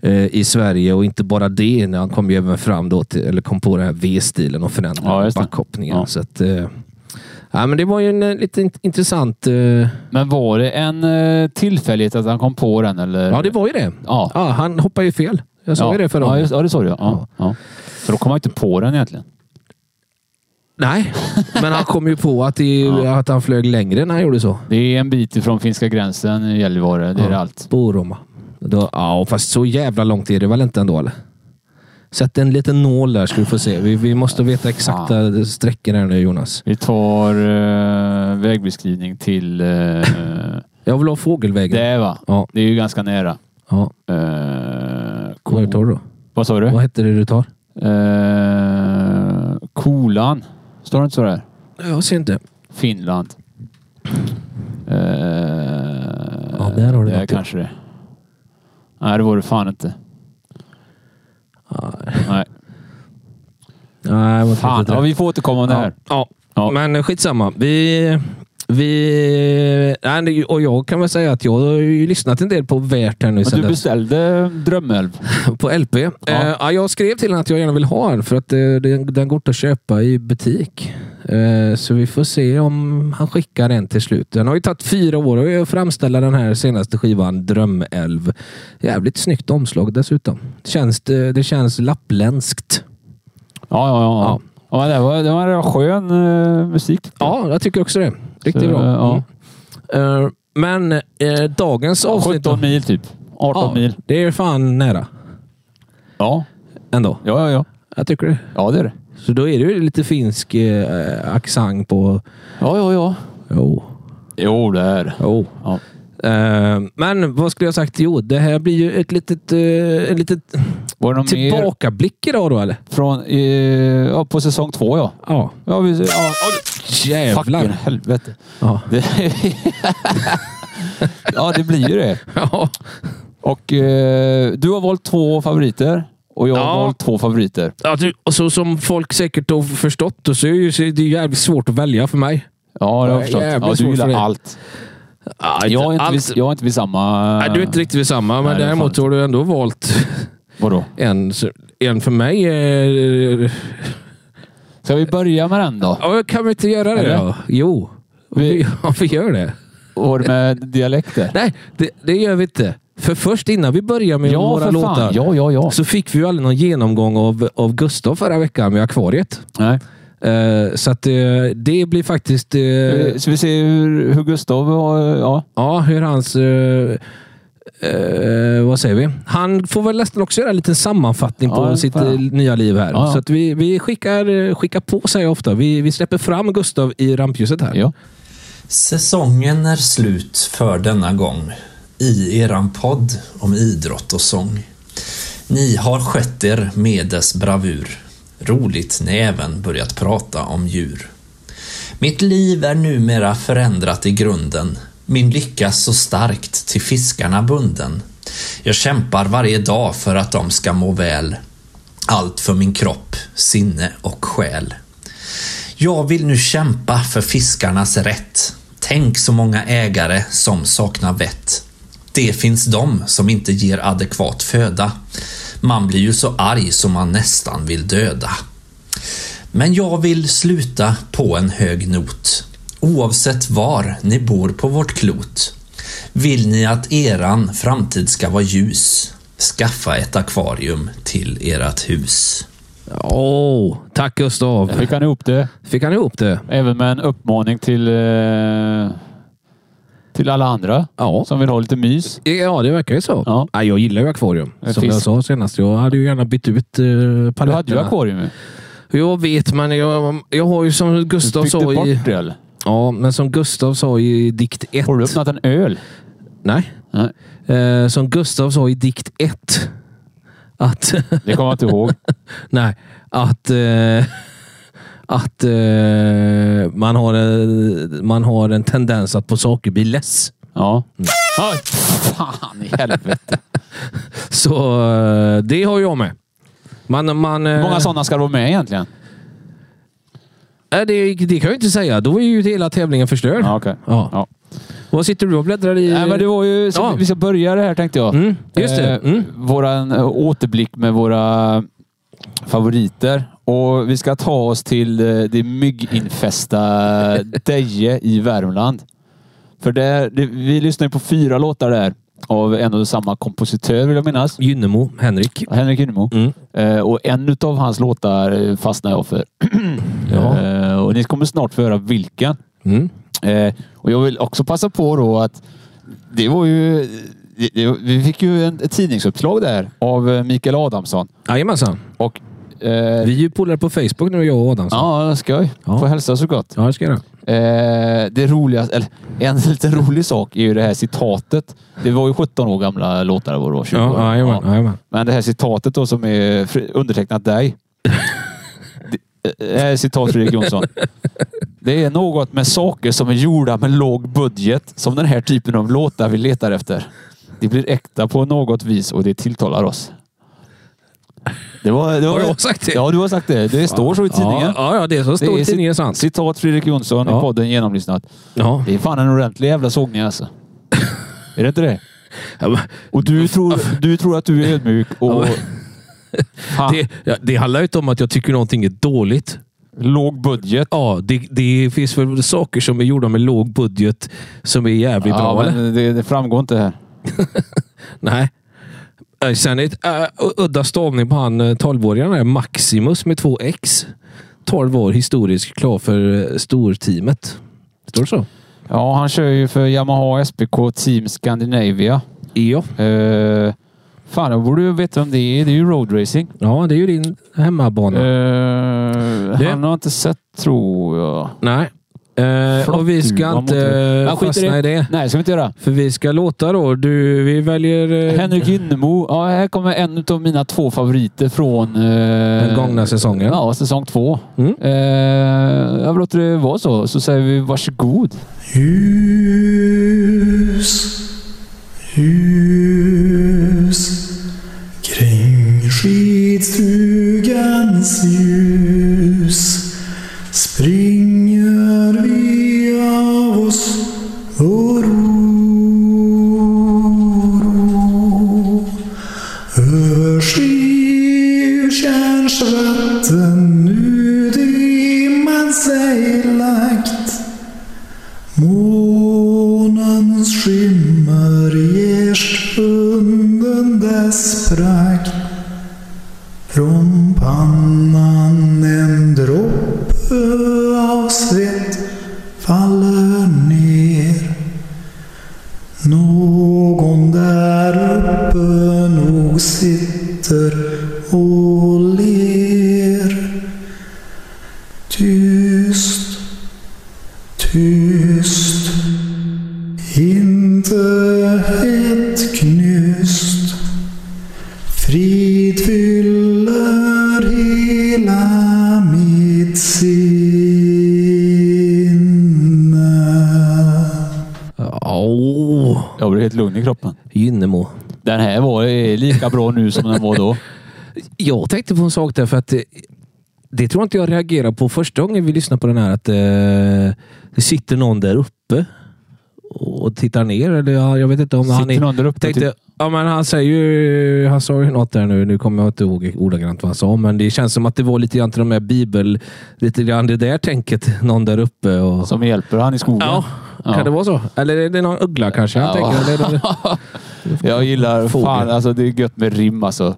Speaker 3: eh, i Sverige och inte bara det. När han kom ju även fram då till, eller kom på den här V-stilen och
Speaker 4: Ja,
Speaker 3: förändrade
Speaker 4: just det.
Speaker 3: backhoppningen.
Speaker 4: Ja.
Speaker 3: Så att, eh, ja, men det var ju en eh, lite int- intressant... Eh,
Speaker 4: Men var det en eh, tillfällighet att han kom på den eller?
Speaker 3: ja, det var ju det.
Speaker 4: Ja.
Speaker 3: Ja, han hoppade ju fel. Jag sa
Speaker 4: ja.
Speaker 3: ju det förra
Speaker 4: ja,
Speaker 3: gången.
Speaker 4: just, ja, det såg du. Ja. Ja. Så då kom han inte på den egentligen.
Speaker 3: Nej, men han kom ju på att, det, att han flög längre när han gjorde så.
Speaker 4: Det är en bit ifrån finska gränsen i Gällivare. Det är det allt.
Speaker 3: Boroma. Då, ja, fast så jävla långt är det väl inte ändå eller? Sätt en liten nål där ska vi få se. Vi, vi måste veta exakta sträckor här nu Jonas.
Speaker 4: Vi tar eh, vägbeskrivning
Speaker 3: [LAUGHS]
Speaker 4: till eh,
Speaker 3: Jag vill ha fågelvägen.
Speaker 4: det va?
Speaker 3: Ja.
Speaker 4: Det är ju ganska nära.
Speaker 3: Ja.
Speaker 4: Eh,
Speaker 3: Vad är det tar du då?
Speaker 4: vad sa du?
Speaker 3: Vad heter det du tar?
Speaker 4: Eh, kolan. Står det inte så där?
Speaker 3: Jag ser inte.
Speaker 4: Finland. Eh,
Speaker 3: Ja, där har du
Speaker 4: det
Speaker 3: något, ja.
Speaker 4: kanske det. Nej, det var det fan inte. Nej.
Speaker 3: Nej, jag vet
Speaker 4: Fan,
Speaker 3: inte.
Speaker 4: ja, vi får återkomma om det här.
Speaker 3: Ja.
Speaker 4: Ja.
Speaker 3: Ja. men skitsamma. Vi... vi nej, det- och jag kan väl säga att jag har ju lyssnat en del på Värt här nu
Speaker 4: Men
Speaker 3: sedan
Speaker 4: du
Speaker 3: dess.
Speaker 4: beställde Drömälv.
Speaker 3: på LP. Ja. Eh, ja, jag skrev till henne att jag gärna vill ha en för att eh, den, den går inte att köpa i butik. Eh, så vi får se om han skickar en till slut. Den har ju tagit fyra år att eh, framställa den här senaste skivan Drömälv. Jävligt snyggt omslag dessutom. Känns, eh, det, det känns lappländskt.
Speaker 4: Ja, ja, ja.
Speaker 3: Ja.
Speaker 4: ja. men det, var, det var en skön eh, musik.
Speaker 3: Ja, jag tycker också det. Riktigt
Speaker 4: Så,
Speaker 3: bra.
Speaker 4: ja.
Speaker 3: Mm. Eh, men eh, dagens avsnitt...
Speaker 4: 17 mil typ. 18
Speaker 3: ja,
Speaker 4: mil.
Speaker 3: Det är fan nära
Speaker 4: Ja.
Speaker 3: ändå.
Speaker 4: ja, ja, ja.
Speaker 3: Jag tycker det.
Speaker 4: Ja, det är det.
Speaker 3: Så då är det ju lite finsk eh, accent på...
Speaker 4: Ja, ja, ja.
Speaker 3: Jo.
Speaker 4: Jo, det är det.
Speaker 3: Jo.
Speaker 4: Ja.
Speaker 3: Eh, men vad skulle jag sagt? Jo, det här blir ju ett litet, eh, en litet
Speaker 4: Var det någon mer
Speaker 3: tillbakablick idag då eller?
Speaker 4: från, eh, ja, på säsong två? Ja.
Speaker 3: Ja.
Speaker 4: Ja, vi, ja, Fucking
Speaker 3: Jävlar.
Speaker 4: helvete.
Speaker 3: Ja.
Speaker 4: Det, [LAUGHS] ja, det blir ju det.
Speaker 3: Ja.
Speaker 4: Och eh, du har valt två favoriter och jag har
Speaker 3: Ja.
Speaker 4: valt två favoriter.
Speaker 3: Ja, du, och så som folk säkert har förstått och så är ju- så är det ju jävligt svårt att välja för mig.
Speaker 4: Ja, det har jag
Speaker 3: Ja,
Speaker 4: förstått.
Speaker 3: jävligt
Speaker 4: Ja, du
Speaker 3: svårt
Speaker 4: gillar
Speaker 3: för dig.
Speaker 4: allt.
Speaker 3: Ja,
Speaker 4: Jag är, inte
Speaker 3: allt-
Speaker 4: vid, jag är inte vid samma...
Speaker 3: Nej, du är inte riktigt vid samma, men
Speaker 4: Nej, det är
Speaker 3: däremot
Speaker 4: fan
Speaker 3: har du ändå valt
Speaker 4: Vadå?
Speaker 3: en. så- En för mig är...
Speaker 4: Ska vi börja med den då?
Speaker 3: Ja, kan vi inte göra det
Speaker 4: Eller?
Speaker 3: då? Jo.
Speaker 4: Vi-
Speaker 3: Vi, [LAUGHS] ja, vi gör det.
Speaker 4: Var det med dialekter?
Speaker 3: Nej, det, det gör vi inte. För först innan vi börjar med
Speaker 4: Ja,
Speaker 3: våra
Speaker 4: för
Speaker 3: låtar
Speaker 4: fan. Ja, ja, ja.
Speaker 3: så fick vi ju aldrig någon genomgång av, av Gustav förra veckan med Akvariet.
Speaker 4: Nej.
Speaker 3: Eh, så att eh, det blir faktiskt... eh,
Speaker 4: Eh, Så vi ser hur, hur Gustav har... Ja.
Speaker 3: ja, hur hans... eh, eh, vad säger vi? Han får väl nästan också göra en liten sammanfattning på
Speaker 4: Ja,
Speaker 3: sitt
Speaker 4: fan.
Speaker 3: eh, nya liv här.
Speaker 4: Ja, ja.
Speaker 3: Så att vi, vi skickar, eh, skickar på sig ofta. Vi, vi släpper fram Gustav i rampljuset här.
Speaker 4: ja.
Speaker 1: Säsongen är slut för denna gång i eran podd om idrott och sång. Ni har skött er med dess bravur. Roligt ni även börjat prata om djur. Mitt liv är numera förändrat i grunden. Min lycka så starkt till fiskarna bunden. Jag kämpar varje dag för att de ska må väl. Allt för min kropp, sinne och själ. Jag vill nu kämpa för fiskarnas rätt. Tänk så många ägare som saknar vett. Det finns de som inte ger adekvat föda. Man blir ju så arg som man nästan vill döda. Men jag vill sluta på en hög not. Oavsett var ni bor på vårt klot. Vill ni att eran framtid ska vara ljus? Skaffa ett akvarium till ert hus.
Speaker 3: Åh, tack Gustav!
Speaker 4: Fick han ihop det?
Speaker 3: Fick han ihop det?
Speaker 4: Även med en uppmaning till, eh, till alla andra
Speaker 3: Ja.
Speaker 4: som vill ha lite mys.
Speaker 3: Ja, det verkar ju så.
Speaker 4: Ja.
Speaker 3: Nej, jag gillar ju akvarium. Som
Speaker 4: Fisk.
Speaker 3: jag sa senast. Jag hade ju gärna bytt ut eh,
Speaker 4: Du hade ju
Speaker 3: paletterna.
Speaker 4: akvarium ju.
Speaker 3: Jag vet, men jag, jag har ju som Gustav
Speaker 4: Fick du
Speaker 3: sa
Speaker 4: bort
Speaker 3: i...
Speaker 4: det eller?
Speaker 3: Ja, men som Gustav sa i dikt 1.
Speaker 4: Har du öppnat en öl?
Speaker 3: Nej.
Speaker 4: Nej,
Speaker 3: Eh, som Gustav sa i dikt 1. Att... [LAUGHS]
Speaker 4: det kommer jag inte ihåg.
Speaker 3: nej. Att... Eh, att eh, man, har en, man har en tendens att på saker bli less.
Speaker 4: Ja.
Speaker 3: Mm.
Speaker 4: Aj, fan i helvete.
Speaker 3: Så eh, det har jag med. Man, man, eh,
Speaker 4: Hur många sådana ska det vara med egentligen?
Speaker 3: nej, eh, det, det kan jag inte säga. Då är ju hela tävlingen förstörd.
Speaker 4: Ja, okej.
Speaker 3: Ja.
Speaker 4: Ja.
Speaker 3: Vad sitter du och bläddrar i?
Speaker 4: Nej, men det var ju... Så
Speaker 3: Ja.
Speaker 4: Vi ska börja det här tänkte jag.
Speaker 3: Mm, just det.
Speaker 4: Eh,
Speaker 3: Mm.
Speaker 4: Våran eh, återblick med våra favoriter. Och vi ska ta oss till eh, det mygginfesta [LAUGHS] Deje i Värmland. För där, det, vi lyssnar ju på fyra låtar där av en och samma kompositör vill jag minnas.
Speaker 3: Gynnemo, Henrik.
Speaker 4: Henrik Gynnemo.
Speaker 3: Mm.
Speaker 4: Eh, och en utav hans låtar eh, fastnar jag för.
Speaker 3: Ja.
Speaker 4: Eh, och ni kommer snart få höra vilken.
Speaker 3: Mm.
Speaker 4: Eh, och jag vill också passa på då att det var ju... Det, det, vi fick ju en, ett tidningsuppslag där av eh, Mikael Adamsson.
Speaker 3: Jajamensan.
Speaker 4: Och... Eh,
Speaker 3: Vi är ju polare på Facebook nu, jag och Adam. så.
Speaker 4: ja, skoj.
Speaker 3: Ja.
Speaker 4: Får hälsa så gott.
Speaker 3: ja det ska jag göra.
Speaker 4: Eh, det roligaste, eller en [LAUGHS] liten rolig sak är ju det här citatet. Det var ju 17 år gamla låtar, det var då 20 år.
Speaker 3: Ja, jajamän, jajamän.
Speaker 4: Men det här citatet då som är fri-
Speaker 3: [LAUGHS]
Speaker 4: undertecknat dig. Det- eh, Det här är citat Fredrik Jonsson. Det är något med saker som är gjorda med låg budget som den här typen av låtar vi letar efter. Det blir äkta på något vis och det tilltalar oss. Det var, det var,
Speaker 3: Har jag sagt det?
Speaker 4: Ja, du har sagt det. Det står så i tidningen.
Speaker 3: Ja, ja, det är så
Speaker 4: Det
Speaker 3: står i
Speaker 4: cit-
Speaker 3: tidningen sant.
Speaker 4: Citat Fredrik Jonsson i
Speaker 3: Ja.
Speaker 4: podden Genomlyssnat.
Speaker 3: Ja.
Speaker 4: Det är fan en ordentlig jävla sågning alltså. Är det inte det?
Speaker 3: Ja, men
Speaker 4: Och du tror, du tror att du är ödmjuk
Speaker 3: [LAUGHS]
Speaker 4: och... Fan,
Speaker 3: Det, ja, det handlar ju inte om att jag tycker någonting är dåligt.
Speaker 4: låg budget.
Speaker 3: Ja, det, det finns väl saker som är gjorda med låg budget som är jävligt bra,
Speaker 4: Ja,
Speaker 3: eller?
Speaker 4: men det, det framgår inte här.
Speaker 3: Nej. Eh, Sen är det äh, udda stavning på han eh, 12-åringen är Maximus med två X. 12 år historiskt klar för eh, storteamet. Står det så?
Speaker 4: Ja, han kör ju för Yamaha SPK Team Scandinavia.
Speaker 3: Ja.
Speaker 4: Uh, fan, jag borde ju veta om det är. Det är ju roadracing.
Speaker 3: Ja, det är ju din hemmabana.
Speaker 4: Uh,
Speaker 3: Det-
Speaker 4: han har inte sett, tror jag.
Speaker 3: Nej. Eh, och vi ska
Speaker 4: Flottduvan
Speaker 3: inte
Speaker 4: mot det.
Speaker 3: eh,
Speaker 4: Ja, skit i
Speaker 3: fastna i det.
Speaker 4: Nej, det ska vi inte göra.
Speaker 3: För vi ska låta då. Du, vi väljer... eh,
Speaker 4: Henrik Gynnemo. Ja, här kommer en av mina två favoriter från... eh,
Speaker 3: Den gångna säsongen.
Speaker 4: Ja, säsong två.
Speaker 3: Mm.
Speaker 4: Eh, jag låter det vara så, så säger vi varsågod.
Speaker 2: Hus, hus kring skidstugans ljus springer vi av oss vår oro. Över Skivtjärns vatten nu dimman sig lagt Månens skimmer ger stunden dess prakt. Från pannan en droppe av svett faller ner. Någon där uppe nog sitter och ler. Tyst Tyst, inte ett knyst. Frid fyller hela mitt sinne.
Speaker 3: Åh,
Speaker 4: Jag blir helt lugn i kroppen.
Speaker 3: Gynnemo.
Speaker 4: Den här var är lika bra nu som den var då.
Speaker 3: Jag tänkte på en sak där, för att eh, det tror jag inte jag reagerade på första gången vi lyssnade på den här. Att eh, det sitter någon där uppe och tittar ner. Eller ja, jag vet inte om han
Speaker 4: Sitter
Speaker 3: är...
Speaker 4: någon där uppe? och
Speaker 3: Tänkte, ja, men han, säger ju, han sa ju något där nu. Nu kommer jag inte ihåg ordagrant vad han sa, men det känns som att det var lite grann till de här bibel... Lite grann det där tänket. Någon där uppe. Och,
Speaker 4: Som hjälper han i skogen.
Speaker 3: ja, kan
Speaker 4: Ja.
Speaker 3: det vara så? Eller är det någon uggla kanske? Han
Speaker 4: Ja.
Speaker 3: tänker, eller, eller,
Speaker 4: Jag gillar...
Speaker 3: Fågel.
Speaker 4: Fan, alltså det är gött med rim alltså.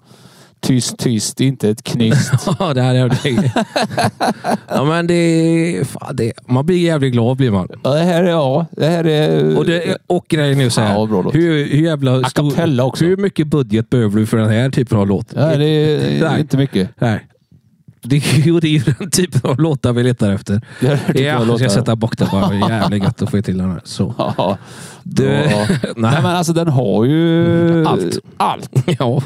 Speaker 4: Tyst, tyst, inte ett
Speaker 3: [LAUGHS]
Speaker 4: knyst.
Speaker 3: Ja, det här är det.
Speaker 4: [LAUGHS]
Speaker 3: ja, men det, fan, det Man blir jävligt glad blir man.
Speaker 4: Ja, det här är... Ja, det här är...
Speaker 3: Och, det, och grejen är ju så
Speaker 4: Fan,
Speaker 3: här.
Speaker 4: vad bra låt.
Speaker 3: hur, hur jävla
Speaker 4: A cappella också.
Speaker 3: Hur mycket budget behöver du för den här typen av låt?
Speaker 4: ja, det är
Speaker 3: Nej.
Speaker 4: inte mycket.
Speaker 3: Nej. Det är ju det är ju den typen av låtar vi letar efter.
Speaker 4: Det här tycker
Speaker 3: Ja,
Speaker 4: jag
Speaker 3: jag
Speaker 4: låter...
Speaker 3: ska sätta bock där bara. Jävligt gött att få till den här. Så.
Speaker 4: Ja.
Speaker 3: Du,
Speaker 4: Ja.
Speaker 3: [LAUGHS]
Speaker 4: Nej, men alltså den har ju...
Speaker 3: Mm, Allt.
Speaker 4: Allt.
Speaker 3: ja.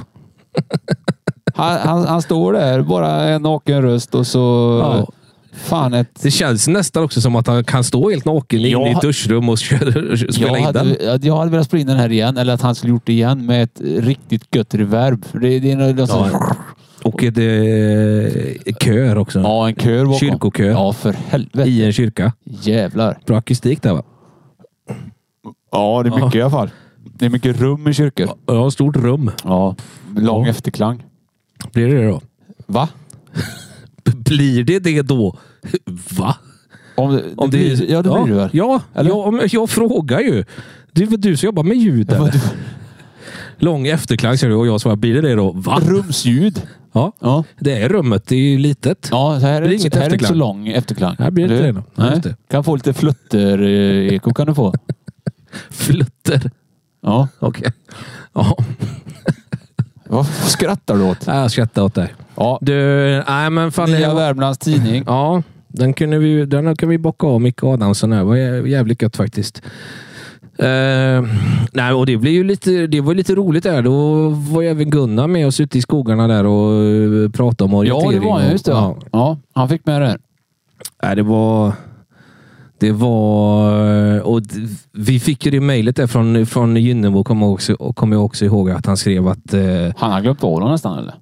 Speaker 4: Han, han, han står där, bara en naken röst och så...
Speaker 3: Ja.
Speaker 4: Fan, ett...
Speaker 3: Det känns nästan också som att han kan stå helt naken
Speaker 4: Jag
Speaker 3: inne i ett
Speaker 4: ha-
Speaker 3: duschrum och [LAUGHS] köra- spela
Speaker 4: Jag
Speaker 3: in den.
Speaker 4: hade, jag- jag hade velat spela in den här igen, eller att han skulle gjort det igen med ett riktigt gött reverb. För det, det är någon, någon sån...
Speaker 3: Ja. Och ett eh, kör också.
Speaker 4: ja, en kör bakom.
Speaker 3: Kyrkokör.
Speaker 4: Ja, för helvete.
Speaker 3: I en kyrka.
Speaker 4: Jävlar.
Speaker 3: Bra akustik där va?
Speaker 4: Ja, det är mycket i alla fall. Det är mycket rum i kyrkor.
Speaker 3: Ja, stort rum
Speaker 4: Ja. Lång
Speaker 3: Ja.
Speaker 4: efterklang.
Speaker 3: blir det då.
Speaker 4: Va?
Speaker 3: Blir det det då? [LAUGHS] Va?
Speaker 4: Om, det- det blir, ja, det blir det väl?
Speaker 3: Ja,
Speaker 4: Eller?
Speaker 3: ja men jag frågar ju. Det är väl du som jobbar med ljud?
Speaker 4: Ja,
Speaker 3: eller?
Speaker 4: men du-
Speaker 3: Lång efterklang säger du och jag svarar, blir det det då? Va?
Speaker 4: Rumsljud.
Speaker 3: Ja,
Speaker 4: Ja.
Speaker 3: det är rummet. Det är ju litet.
Speaker 4: Ja, så här är
Speaker 3: Blir
Speaker 4: det,
Speaker 3: inget
Speaker 4: inte- här är det inte så
Speaker 3: efterklang.
Speaker 4: lång efterklang.
Speaker 3: Här blir det
Speaker 4: Eller
Speaker 3: inte
Speaker 4: hur?
Speaker 3: det då. Ja, just
Speaker 4: Nej.
Speaker 3: det.
Speaker 4: Kan få lite flutter-eko kan du [LAUGHS] få.
Speaker 3: Flutter.
Speaker 4: Ja.
Speaker 3: Okej. Ja,
Speaker 4: Vad skrattar du åt?
Speaker 3: jag skrattar åt dig.
Speaker 4: Ja.
Speaker 3: Du, nej men fan.
Speaker 4: Nya
Speaker 3: jag-
Speaker 4: Värmlands Tidning.
Speaker 3: Ja, den, kunde vi, den kan vi bocka av Micke Adamsson. Här. Det var jä- jävligt gött faktiskt. Eh, nej, och det, blev ju lite, det var lite roligt där. Då var ju även Gunnar med oss ute i skogarna där och eh, pratade om orientering.
Speaker 4: Ja, det var
Speaker 3: och,
Speaker 4: han. Just det.
Speaker 3: Ja.
Speaker 4: Ja. Ja, han fick med det.
Speaker 3: Nej, det var... Det var... Och d- vi fick ju det mejlet där från, från Gynnebo, kommer jag, också- och kommer jag också ihåg att han skrev att... Eh,
Speaker 4: Han har glömt av dem nästan, eller?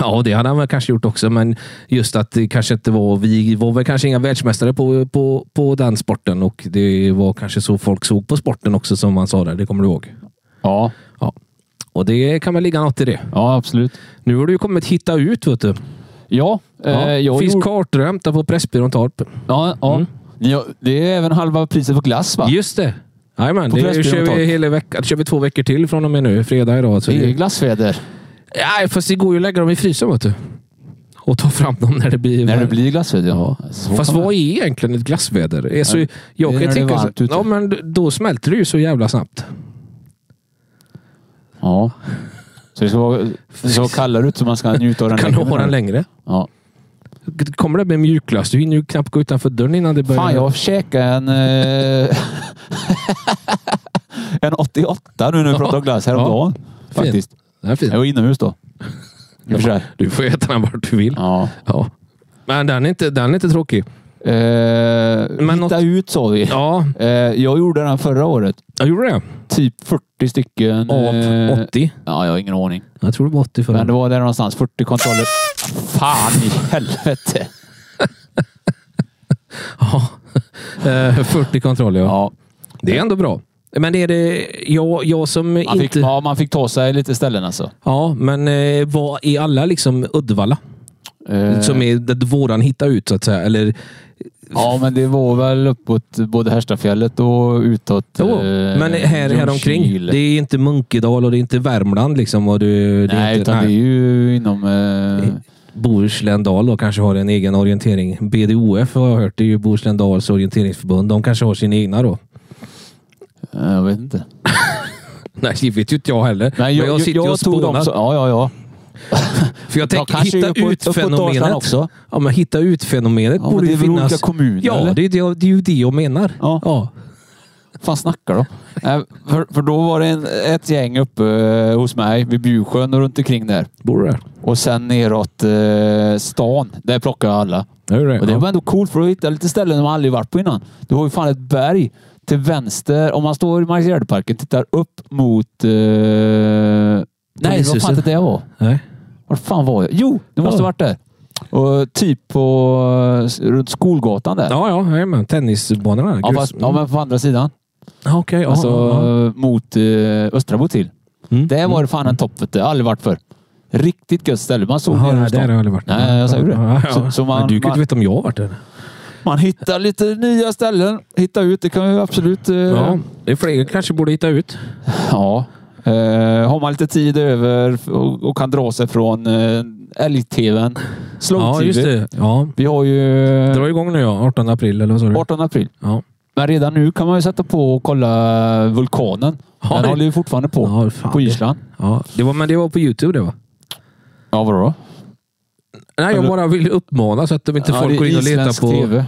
Speaker 3: ja, det hade han väl kanske gjort också, men just att det kanske inte var... Vi var väl kanske inga världsmästare på, på, på den sporten och det var kanske så folk såg på sporten också, som han sa där. Det kommer du ihåg?
Speaker 4: Ja,
Speaker 3: Ja. Och det kan väl ligga något i det.
Speaker 4: ja absolut.
Speaker 3: Nu har du ju kommit hitta ut, vet du.
Speaker 4: Ja,
Speaker 3: Ja,
Speaker 4: eh, jag
Speaker 3: finns
Speaker 4: gjorde...
Speaker 3: kartor att hämta på Pressbyrån Torp.
Speaker 4: Ja, ja.
Speaker 3: Mm.
Speaker 4: Ja, det är även halva priset på glass, va?
Speaker 3: Just det. Jajamän,
Speaker 4: På
Speaker 3: det
Speaker 4: Pressbyrån
Speaker 3: kör vi,
Speaker 4: Torp.
Speaker 3: hela veckan. det kör vi två veckor till från och med nu. Fredag idag. Så
Speaker 4: Det är
Speaker 3: det,
Speaker 4: glassväder.
Speaker 3: nej, fast det går ju att lägga dem i frysen vet du. Och ta fram dem när det blir...
Speaker 4: När det blir glassväder, ja. Så
Speaker 3: Fast
Speaker 4: kan man-
Speaker 3: vad är egentligen ett glassväder? Alltså,
Speaker 4: Ja,
Speaker 3: jag
Speaker 4: det är
Speaker 3: kan ju
Speaker 4: när det är
Speaker 3: tänka så,
Speaker 4: varmt ute.
Speaker 3: ja, men då smälter det ju så jävla snabbt.
Speaker 4: Ja. Så det ska vara så kallare ut så man ska njuta av den.
Speaker 3: Kan du
Speaker 4: länge,
Speaker 3: ha
Speaker 4: menar
Speaker 3: den längre?
Speaker 4: Ja.
Speaker 3: Kommer det bli mjukglass? Du hinner ju knappt gå utanför dörren innan det börjar.
Speaker 4: Fan, jag käkade en... Eh, [LAUGHS] en 88 nu när vi pratar om glass häromdagen. Faktiskt.
Speaker 3: Den är fin.
Speaker 4: Jag var inomhus då. I och för sig.
Speaker 3: Du får äta den vart du vill. Ja.
Speaker 4: Ja.
Speaker 3: Men den är, inte, den är inte tråkig.
Speaker 4: Eh, hitta
Speaker 3: något-
Speaker 4: ut sa vi.
Speaker 3: Ja,
Speaker 4: Eh, jag gjorde den förra året.
Speaker 3: jag gjorde det.
Speaker 4: Typ 40 stycken.
Speaker 3: Av 80.
Speaker 4: Ja, jag har ingen aning.
Speaker 3: Jag tror det var 80 förra
Speaker 4: Eh. Men det var där någonstans. 40 kontroller. Fan i helvete.
Speaker 3: Ja, Eh, 40 kontroller. Ja.
Speaker 4: Ja.
Speaker 3: Det är ändå bra. Men är det jag, jag som
Speaker 4: Man,
Speaker 3: inte...
Speaker 4: fick, ja, man fick ta sig lite ställen alltså.
Speaker 3: Ja, men eh, vad är alla liksom Uddevalla?
Speaker 4: Eh,
Speaker 3: Som är det våran hitta ut så att säga. Eller,
Speaker 4: Ja, men det var väl uppåt både Härstafjället och utåt.
Speaker 3: jo,
Speaker 4: eh,
Speaker 3: men här, här omkring.
Speaker 4: Ljungskile.
Speaker 3: Det är inte Munkedal och det är inte Värmland liksom. Och du, det är
Speaker 4: nej,
Speaker 3: inte,
Speaker 4: utan det är ju inom... Eh,
Speaker 3: Bohusländal då kanske har en egen orientering. BDOF har jag hört. Det är ju Bohusländals orienteringsförbund. De kanske har sina egna då. [LAUGHS]
Speaker 4: jag vet inte.
Speaker 3: Nej, det vet ju inte jag heller.
Speaker 4: Nej,
Speaker 3: men jag sitter ju och spånar.
Speaker 4: så, Ja, ja, ja.
Speaker 3: För jag
Speaker 4: Jag
Speaker 3: tänker
Speaker 4: kanske
Speaker 3: hitta
Speaker 4: är uppåt-
Speaker 3: ut
Speaker 4: uppåt Dalsland
Speaker 3: fenomenet.
Speaker 4: också.
Speaker 3: Ja, men hitta ut fenomenet
Speaker 4: Ja, men
Speaker 3: borde
Speaker 4: det
Speaker 3: ju
Speaker 4: är väl olika
Speaker 3: finnas.
Speaker 4: kommuner,
Speaker 3: Ja,
Speaker 4: eller?
Speaker 3: det är, det, det är ju det jag menar.
Speaker 4: Ja. fan
Speaker 3: [LAUGHS]
Speaker 4: snackar de? Nej, för, för då var det en, ett gäng uppe eh, hos mig vid Bjusjön och runt omkring där.
Speaker 3: Bor du där?
Speaker 4: Och sen neråt eh, stan. Där plockade jag alla.
Speaker 3: Gör det?
Speaker 4: Och det
Speaker 3: ja.
Speaker 4: var ändå coolt för att hitta lite ställen man aldrig varit på innan. Du har ju fan ett berg till vänster. Om man står i Marksgärdeparken och tittar upp mot... Eh... Nej, vad
Speaker 3: Polishuset.
Speaker 4: fan inte det var.
Speaker 3: Nej.
Speaker 4: Var fan var jag? Jo, det måste
Speaker 3: Ja.
Speaker 4: ha varit där. Och typ på eh, runt Skolgatan där. Ja,
Speaker 3: Ja, ja, jajamän. Tennisbanorna. grus-
Speaker 4: fast, ja, men på andra sidan.
Speaker 3: Ja, Okej. ja,
Speaker 4: alltså
Speaker 3: ja,
Speaker 4: eh, mot eh, Östra Botil.
Speaker 3: ja. Mm.
Speaker 4: Där var det fan en topp. vet du. Aldrig varit för. Riktigt gött ställe. Man såg
Speaker 3: Jaha,
Speaker 4: ner
Speaker 3: nej,
Speaker 4: runt
Speaker 3: där har
Speaker 4: stan.
Speaker 3: jag aldrig varit.
Speaker 4: Nej, jag sa ju det.
Speaker 3: Ja, ja.
Speaker 4: Så- så man-
Speaker 3: Men du kan ju
Speaker 4: man-
Speaker 3: inte veta om jag har varit där.
Speaker 4: Man hittar lite nya ställen. Hitta ut. Det kan ju absolut... eh,
Speaker 3: Ja, det är fler kanske borde hitta ut.
Speaker 4: Ja. Eh, har man lite tid över och, och kan dra sig från eh, älg-tvn.
Speaker 3: Ja, just
Speaker 4: Slow-tv.
Speaker 3: det. Ja.
Speaker 4: Vi har ju eh,
Speaker 3: Dra igång nu ja. 18 april eller vad sa du?
Speaker 4: 18 april.
Speaker 3: Ja.
Speaker 4: Men redan nu kan man ju sätta på och kolla vulkanen.
Speaker 3: Ja,
Speaker 4: Den
Speaker 3: det-
Speaker 4: håller ju fortfarande på.
Speaker 3: Ja, fan,
Speaker 4: på
Speaker 3: det-
Speaker 4: Island.
Speaker 3: Ja. Det var, men det var på Youtube det va?
Speaker 4: Ja, vadå då?
Speaker 3: Nej, jag bara vill uppmana så att de inte
Speaker 4: Ja, det
Speaker 3: folk
Speaker 4: är
Speaker 3: går in och letar
Speaker 4: isländsk
Speaker 3: på...
Speaker 4: TV.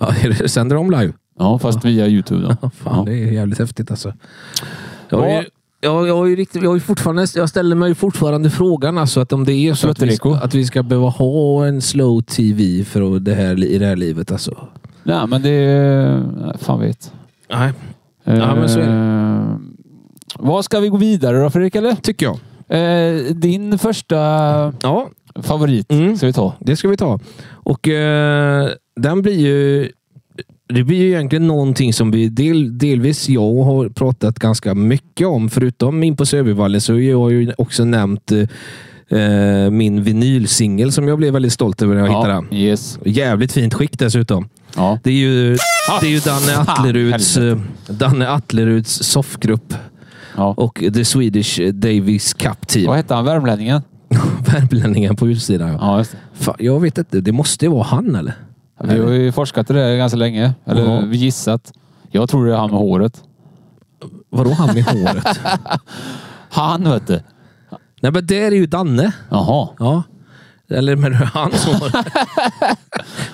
Speaker 3: Ja, [LAUGHS] är det- sänder de live?
Speaker 4: Ja, fast via Youtube.
Speaker 3: [LAUGHS]
Speaker 4: Då.
Speaker 3: Ja, fan,
Speaker 4: ja.
Speaker 3: det är jävligt häftigt alltså. Jag,
Speaker 4: Ja.
Speaker 3: är, jag, jag, är ju riktigt, jag, är ju fortfarande, jag ställer mig ju fortfarande frågan alltså, att om det är så att vi,
Speaker 4: Plöttereko.
Speaker 3: att vi ska behöva ha en slow TV för att det här, li- i det här livet. Alltså.
Speaker 4: Nej, men det... är- Fan vet.
Speaker 3: Nej, Ja, men så är det.
Speaker 4: Eh, Vad ska vi gå vidare då Fredrik? Eller?
Speaker 3: tycker jag.
Speaker 4: Eh, din första
Speaker 3: Ja,
Speaker 4: favorit
Speaker 3: Mm.
Speaker 4: ska vi ta.
Speaker 3: det ska vi ta. Och eh, den blir ju... Det blir ju egentligen någonting som vi del, delvis jag har pratat ganska mycket om. Förutom in på Södervallen så har jag ju också nämnt eh, eh, min vinylsingel som jag blev väldigt stolt över när jag hittade den.
Speaker 4: Yes.
Speaker 3: Jävligt fint skick dessutom.
Speaker 4: Ja.
Speaker 3: Det är ju, det är ju
Speaker 4: Ah,
Speaker 3: Danne
Speaker 4: fan,
Speaker 3: Attleruds, eh, Danne Attleruds soffgrupp
Speaker 4: Ja.
Speaker 3: och The Swedish Davis Cup
Speaker 4: Vad
Speaker 3: [LAUGHS] Team.
Speaker 4: hette han? Värmlänningen?
Speaker 3: Värmlänningen på utsidan. Ja.
Speaker 4: Ja, just det.
Speaker 3: Fan, jag vet inte, det måste ju vara han eller?
Speaker 4: Vi har ju forskat i det ganska länge. Eller
Speaker 3: Jaha.
Speaker 4: vi gissat. Jag tror det är han med håret.
Speaker 3: Vadå han med
Speaker 4: [LAUGHS]
Speaker 3: håret?
Speaker 4: Han vet du.
Speaker 3: Nej men det är ju Danne.
Speaker 4: Jaha.
Speaker 3: Ja. Eller [LAUGHS] men hans hår.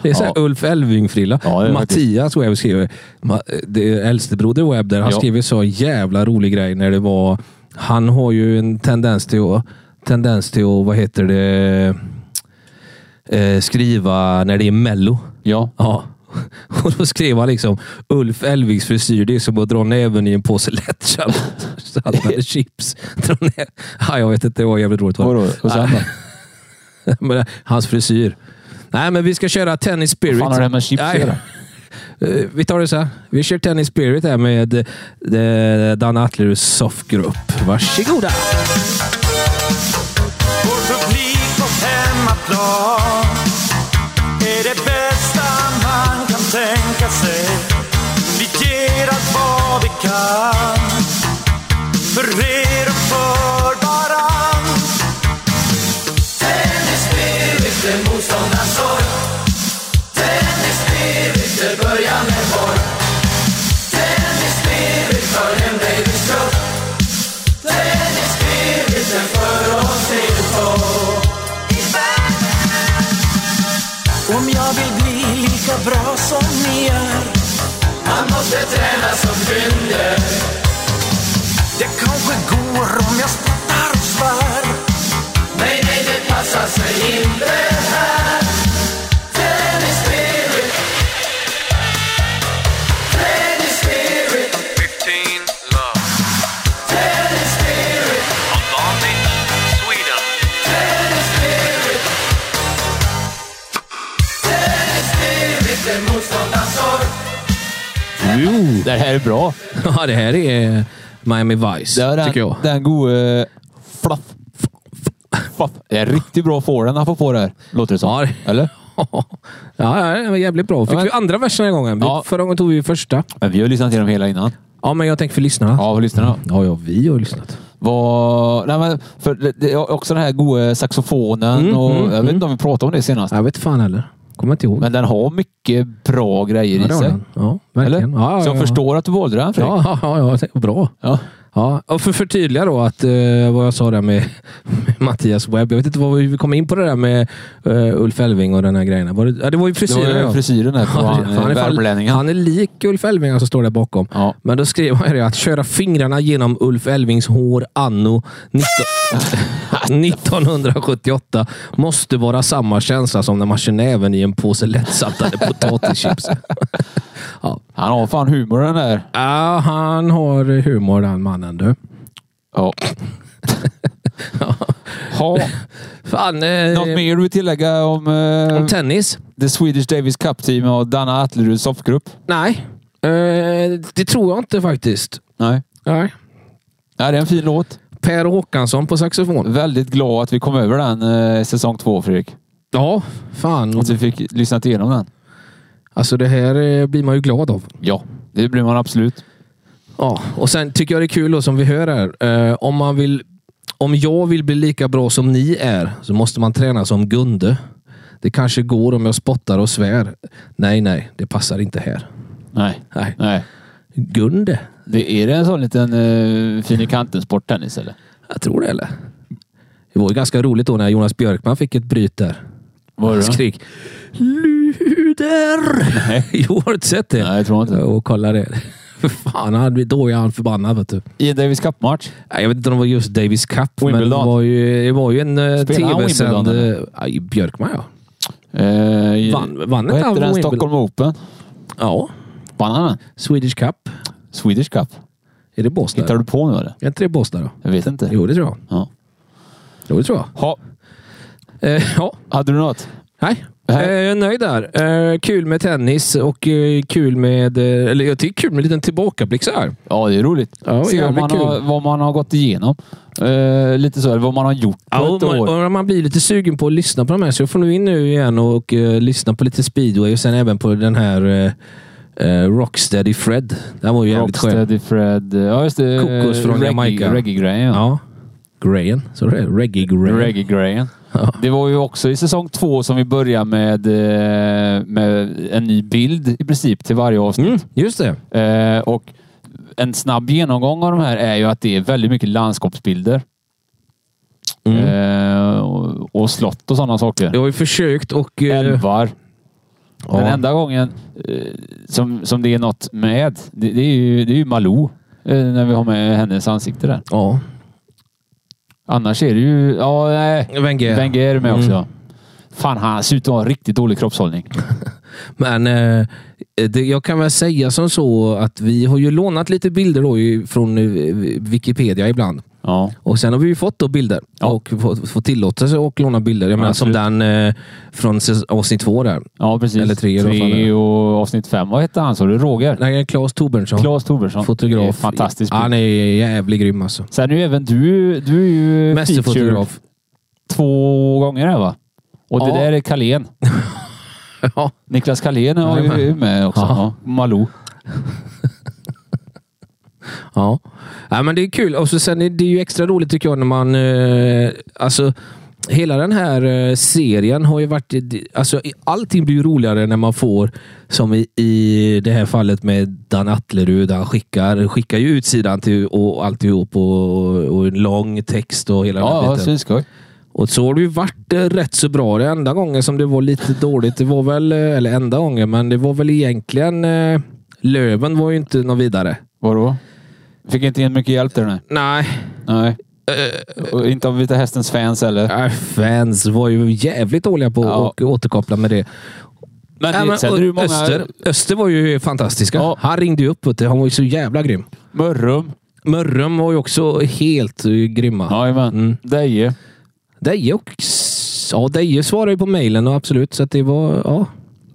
Speaker 3: Det är såhär
Speaker 4: Ja.
Speaker 3: Ulf Elving-frilla.
Speaker 4: Ja, det är
Speaker 3: Mattias Webb skriver, Ma- det är äldstebroder Webb där, han
Speaker 4: Ja.
Speaker 3: skriver så jävla rolig grej när det var, han har ju en tendens till att, tendens till att vad heter det, eh, skriva när det är mello.
Speaker 4: Ja.
Speaker 3: Ja. [LAUGHS] Och då skrev han liksom Ulf Elvigs frisyr, det är som att dra näven i en påse [LAUGHS]
Speaker 4: [LAUGHS]
Speaker 3: lättsaltade chips. Dra nä- ja, jag vet inte, det var jävligt roligt. va?
Speaker 4: Vadå? Och sen då?
Speaker 3: Men, eh, Hans frisyr. Nej, men vi ska köra Tennis Spirit.
Speaker 4: Vad fan har det här med chips att
Speaker 3: Nej.
Speaker 4: göra?
Speaker 3: [LAUGHS] Eh, Vi tar det så här. Vi kör Tennis Spirit här med eh, Danne Atlerus soffgrupp. Varsågoda! [LAUGHS]
Speaker 5: Vår publik på hemmaplan är det bästa man kan tänka sig. Vi ger allt vad vi kan för er och för varann. Om jag vill bli lika bra som ni är Man måste träna som fynder Det kanske går om jag spottar och svär Nej, nej, det passar sig inte här Tennis spirit Tennis spirit Tennis spirit
Speaker 4: [LAUGHS] Det här är bra.
Speaker 3: Ja, det här är Miami Vice,
Speaker 4: Det är den,
Speaker 3: tycker jag. [LAUGHS]
Speaker 4: den gode fluff. Fluff. Det är riktigt bra får den han får på det här. Låter det som.
Speaker 3: Ja, det-
Speaker 4: Eller?
Speaker 3: Ja, ja, det var jävligt bra. Fick
Speaker 4: Ja, men-
Speaker 3: vi andra versen den här gången? Vi-
Speaker 4: Ja.
Speaker 3: Förra gången tog vi ju första.
Speaker 4: Men vi har lyssnat igenom hela innan.
Speaker 3: Ja, men jag tänker för lyssnarna.
Speaker 4: Ja, för lyssnarna.
Speaker 3: Ja, ja, vi har lyssnat.
Speaker 4: Vad... Nej, men för det, det är också den här gode saxofonen.
Speaker 3: Mm,
Speaker 4: och, jag vet inte om vi pratade om det senast.
Speaker 3: Jag vet fan heller. Kommer inte ihåg.
Speaker 4: Men den har mycket bra grejer
Speaker 3: Ja,
Speaker 4: i
Speaker 3: det har
Speaker 4: sig.
Speaker 3: den. Ja,
Speaker 4: Eller?
Speaker 3: verkligen. Ja, ja,
Speaker 4: Så jag
Speaker 3: ja.
Speaker 4: förstår att du valde den Fredrik.
Speaker 3: Ja, ja, ja, det är bra.
Speaker 4: Ja.
Speaker 3: Ja, och för att förtydliga då att, eh, vad jag sa där med, med Mattias Webb. Jag vet inte vad vi kom in på det där med eh, Ulf Elving och den här grejen. Var det, ja, det var ju
Speaker 4: Det var
Speaker 3: frisyren.
Speaker 4: ju
Speaker 3: ja.
Speaker 4: frisyren där på
Speaker 3: [LAUGHS] Ja,
Speaker 4: han,
Speaker 3: fan,
Speaker 4: han värmlänningen.
Speaker 3: han är lik Ulf Elving som står där bakom.
Speaker 4: Ja.
Speaker 3: Men då skrev han ju det att köra fingrarna genom Ulf Elvings hår anno
Speaker 4: [LAUGHS]
Speaker 3: 19 1978 måste vara samma känsla som när man kör näven i en påse lättsaltade
Speaker 4: [LAUGHS]
Speaker 3: potatischips.
Speaker 4: Han har fan humor den där.
Speaker 3: Ja, han har humor den mannen du. [LAUGHS]
Speaker 4: Ja. ha.
Speaker 3: Fan, eh,
Speaker 4: Något mer du vill tillägga om
Speaker 3: om
Speaker 4: eh,
Speaker 3: tennis?
Speaker 4: The Swedish Davis Cup Team och Danna Atleruds soffgrupp?
Speaker 3: Nej, eh, det tror jag inte faktiskt.
Speaker 4: Nej.
Speaker 3: Nej.
Speaker 4: Nej, det är en fin låt.
Speaker 3: Per Håkansson på saxofon.
Speaker 4: Väldigt glad att vi kom över den eh, säsong två, Fredrik.
Speaker 3: Ja, fan.
Speaker 4: Att vi fick lyssna igenom den.
Speaker 3: Alltså det här eh, blir man ju glad av.
Speaker 4: Ja, det blir man absolut.
Speaker 3: Ja, och sen tycker jag det är kul då, som vi hör här. Eh, om, man vill, om jag vill bli lika bra som ni är så måste man träna som Gunde. Det kanske går om jag spottar och svär. Nej, nej, det passar inte här.
Speaker 4: Nej.
Speaker 3: Nej.
Speaker 4: Nej.
Speaker 3: Gunde?
Speaker 4: Det är det en sån liten uh, fin i kanten sporttennis eller?
Speaker 3: Jag tror det, eller? Det var ju ganska roligt då när Jonas Björkman fick ett bryt där.
Speaker 4: Var det?
Speaker 3: Skrik. Luder!
Speaker 4: Nej.
Speaker 3: [LAUGHS] Jo, har du inte sett det?
Speaker 4: Nej, jag tror inte.
Speaker 3: Och kolla det. [LAUGHS] Fan, han blir då är han förbannad. Vet du.
Speaker 4: I en Davis Cup-match.
Speaker 3: Nej, Jag vet inte om det var just Davis Cup, men det
Speaker 4: Wimbledon.
Speaker 3: var ju, det var ju en eh,
Speaker 4: Spelade han
Speaker 3: tv-sänd...
Speaker 4: Wimbledon,
Speaker 3: eh, aj, Björkman, ja.
Speaker 4: Eh,
Speaker 3: Vann, vann
Speaker 4: Vad
Speaker 3: inte
Speaker 4: hette
Speaker 3: han
Speaker 4: den?
Speaker 3: Wimbledon?
Speaker 4: Stockholm Open?
Speaker 3: Ja.
Speaker 4: Vann han den?
Speaker 3: Swedish Cup.
Speaker 4: Swedish Cup?
Speaker 3: Är det Båstad?
Speaker 4: Hittar du på nu eller?
Speaker 3: Är inte det Båstad då?
Speaker 4: Jag vet inte.
Speaker 3: Jo, det tror jag.
Speaker 4: Ja.
Speaker 3: Jo, det tror jag.
Speaker 4: Ha,
Speaker 3: Eh, [LAUGHS] ja.
Speaker 4: hade du något?
Speaker 3: Nej. Eh,
Speaker 4: Nej.
Speaker 3: jag är nöjd där. Eh, kul med tennis och eh, kul med... Eh, eller jag tycker kul med en liten tillbakablick så här.
Speaker 4: Ja, det är roligt.
Speaker 3: Ja,
Speaker 4: Se vad
Speaker 3: jävligt
Speaker 4: man,
Speaker 3: kul.
Speaker 4: har, vad man har gått igenom. Eh, lite så, här, vad man har gjort på
Speaker 3: Ja,
Speaker 4: ett
Speaker 3: och man,
Speaker 4: år.
Speaker 3: och man blir lite sugen på att lyssna på de här, så jag får nu in nu igen och, eh, lyssna på lite speedway och sen även på den här eh, eh, Rocksteady Fred. Den var ju jävligt skön.
Speaker 4: Rocksteady Fred. eh, Ja, just det.
Speaker 3: Kokos från
Speaker 4: Reggae-
Speaker 3: Jamaica.
Speaker 4: Reggae-grejen. Ja.
Speaker 3: Ja. Grayen. Så det är Reggae Grayen.
Speaker 4: Reggae-grejen.
Speaker 3: Ja.
Speaker 4: Det var ju också i säsong två som vi började med, eh, med en ny bild i princip till varje avsnitt.
Speaker 3: Mm, just det.
Speaker 4: Eh, och en snabb genomgång av de här är ju att det är väldigt mycket landskapsbilder.
Speaker 3: Mm.
Speaker 4: Eh, och, och slott och sådana saker.
Speaker 3: Jag har ju försökt och... eh,
Speaker 4: Älvar.
Speaker 3: ja.
Speaker 4: Den enda gången eh, som, som det är något med, det, det är ju, det är ju Malou. Eh, när vi har med hennes ansikte där.
Speaker 3: Ja.
Speaker 4: Annars är det ju... Ja, nej.
Speaker 3: Wenger.
Speaker 4: Wenger är med också.
Speaker 3: Mm.
Speaker 4: ja. Fan, han ser ut att ha en riktigt dålig kroppshållning.
Speaker 3: Men eh, det, jag kan väl säga som så att vi har ju lånat lite bilder då ju från eh, Wikipedia ibland.
Speaker 4: Ja.
Speaker 3: Och sen har vi ju fått då bilder
Speaker 4: Ja.
Speaker 3: och fått, fått tillåtelse att låna bilder. Jag menar som
Speaker 4: Absolut.
Speaker 3: den eh, från säs- avsnitt två där.
Speaker 4: ja, precis.
Speaker 3: Eller tre i alla fall.
Speaker 4: tre och avsnitt fem. Vad hette han? Så du Roger?
Speaker 3: Nej, Claes Torbjörnsson.
Speaker 4: Claes Tobersson. Det är
Speaker 3: fotograf.
Speaker 4: Fantastiskt.
Speaker 3: Han är jävligt grym alltså.
Speaker 4: Sen är ju även du, du är ju featured
Speaker 3: Mästerfotograf.
Speaker 4: två gånger här va? Och det
Speaker 3: Ja.
Speaker 4: där är Kalén.
Speaker 3: Ja.
Speaker 4: Niklas Kalén är ju
Speaker 3: Jajamän.
Speaker 4: med också.
Speaker 3: Ja.
Speaker 4: Ja. Malou.
Speaker 3: Ja. ja, men det är kul. Och så sen är det ju extra roligt tycker jag när man... Eh, alltså, hela den här eh, serien har ju varit... det- Alltså, i- allting blir ju roligare när man får, som i, i det här fallet med Dan Atlerud, han skickar, skickar ju utsidan till, och alltihop och, och en lång text och hela den här
Speaker 4: Ja, alltså-
Speaker 3: biten.
Speaker 4: svinskoj.
Speaker 3: Och så har det ju varit eh, rätt så bra. Det enda gången som det var lite dåligt, det var väl, eh, eller enda gången, men det var väl egentligen eh, Löven var ju inte något vidare.
Speaker 4: Vadå? Fick inte in mycket hjälp där nej.
Speaker 3: Nej.
Speaker 4: Nej.
Speaker 3: Eh,
Speaker 4: Och inte av Vita Hästens
Speaker 3: [LAUGHS]
Speaker 4: fans heller.
Speaker 3: Äh, Fans var ju jävligt dåliga på
Speaker 4: Ja.
Speaker 3: att återkoppla med det.
Speaker 4: Men,
Speaker 3: Äh,
Speaker 4: det-
Speaker 3: men,
Speaker 4: sen är
Speaker 3: och
Speaker 4: det ju många...
Speaker 3: Öster, Öster var ju fantastiska.
Speaker 4: Ja.
Speaker 3: Han ringde ju upp. vet du. Han var ju så jävla grym.
Speaker 4: Mörrum.
Speaker 3: Mörrum var ju också helt eh, grymma.
Speaker 4: Jajamän.
Speaker 3: Mm.
Speaker 4: Deje.
Speaker 3: Deje och... Ja, Deje svarade ju på mejlen, och absolut. Så att det var... Ja.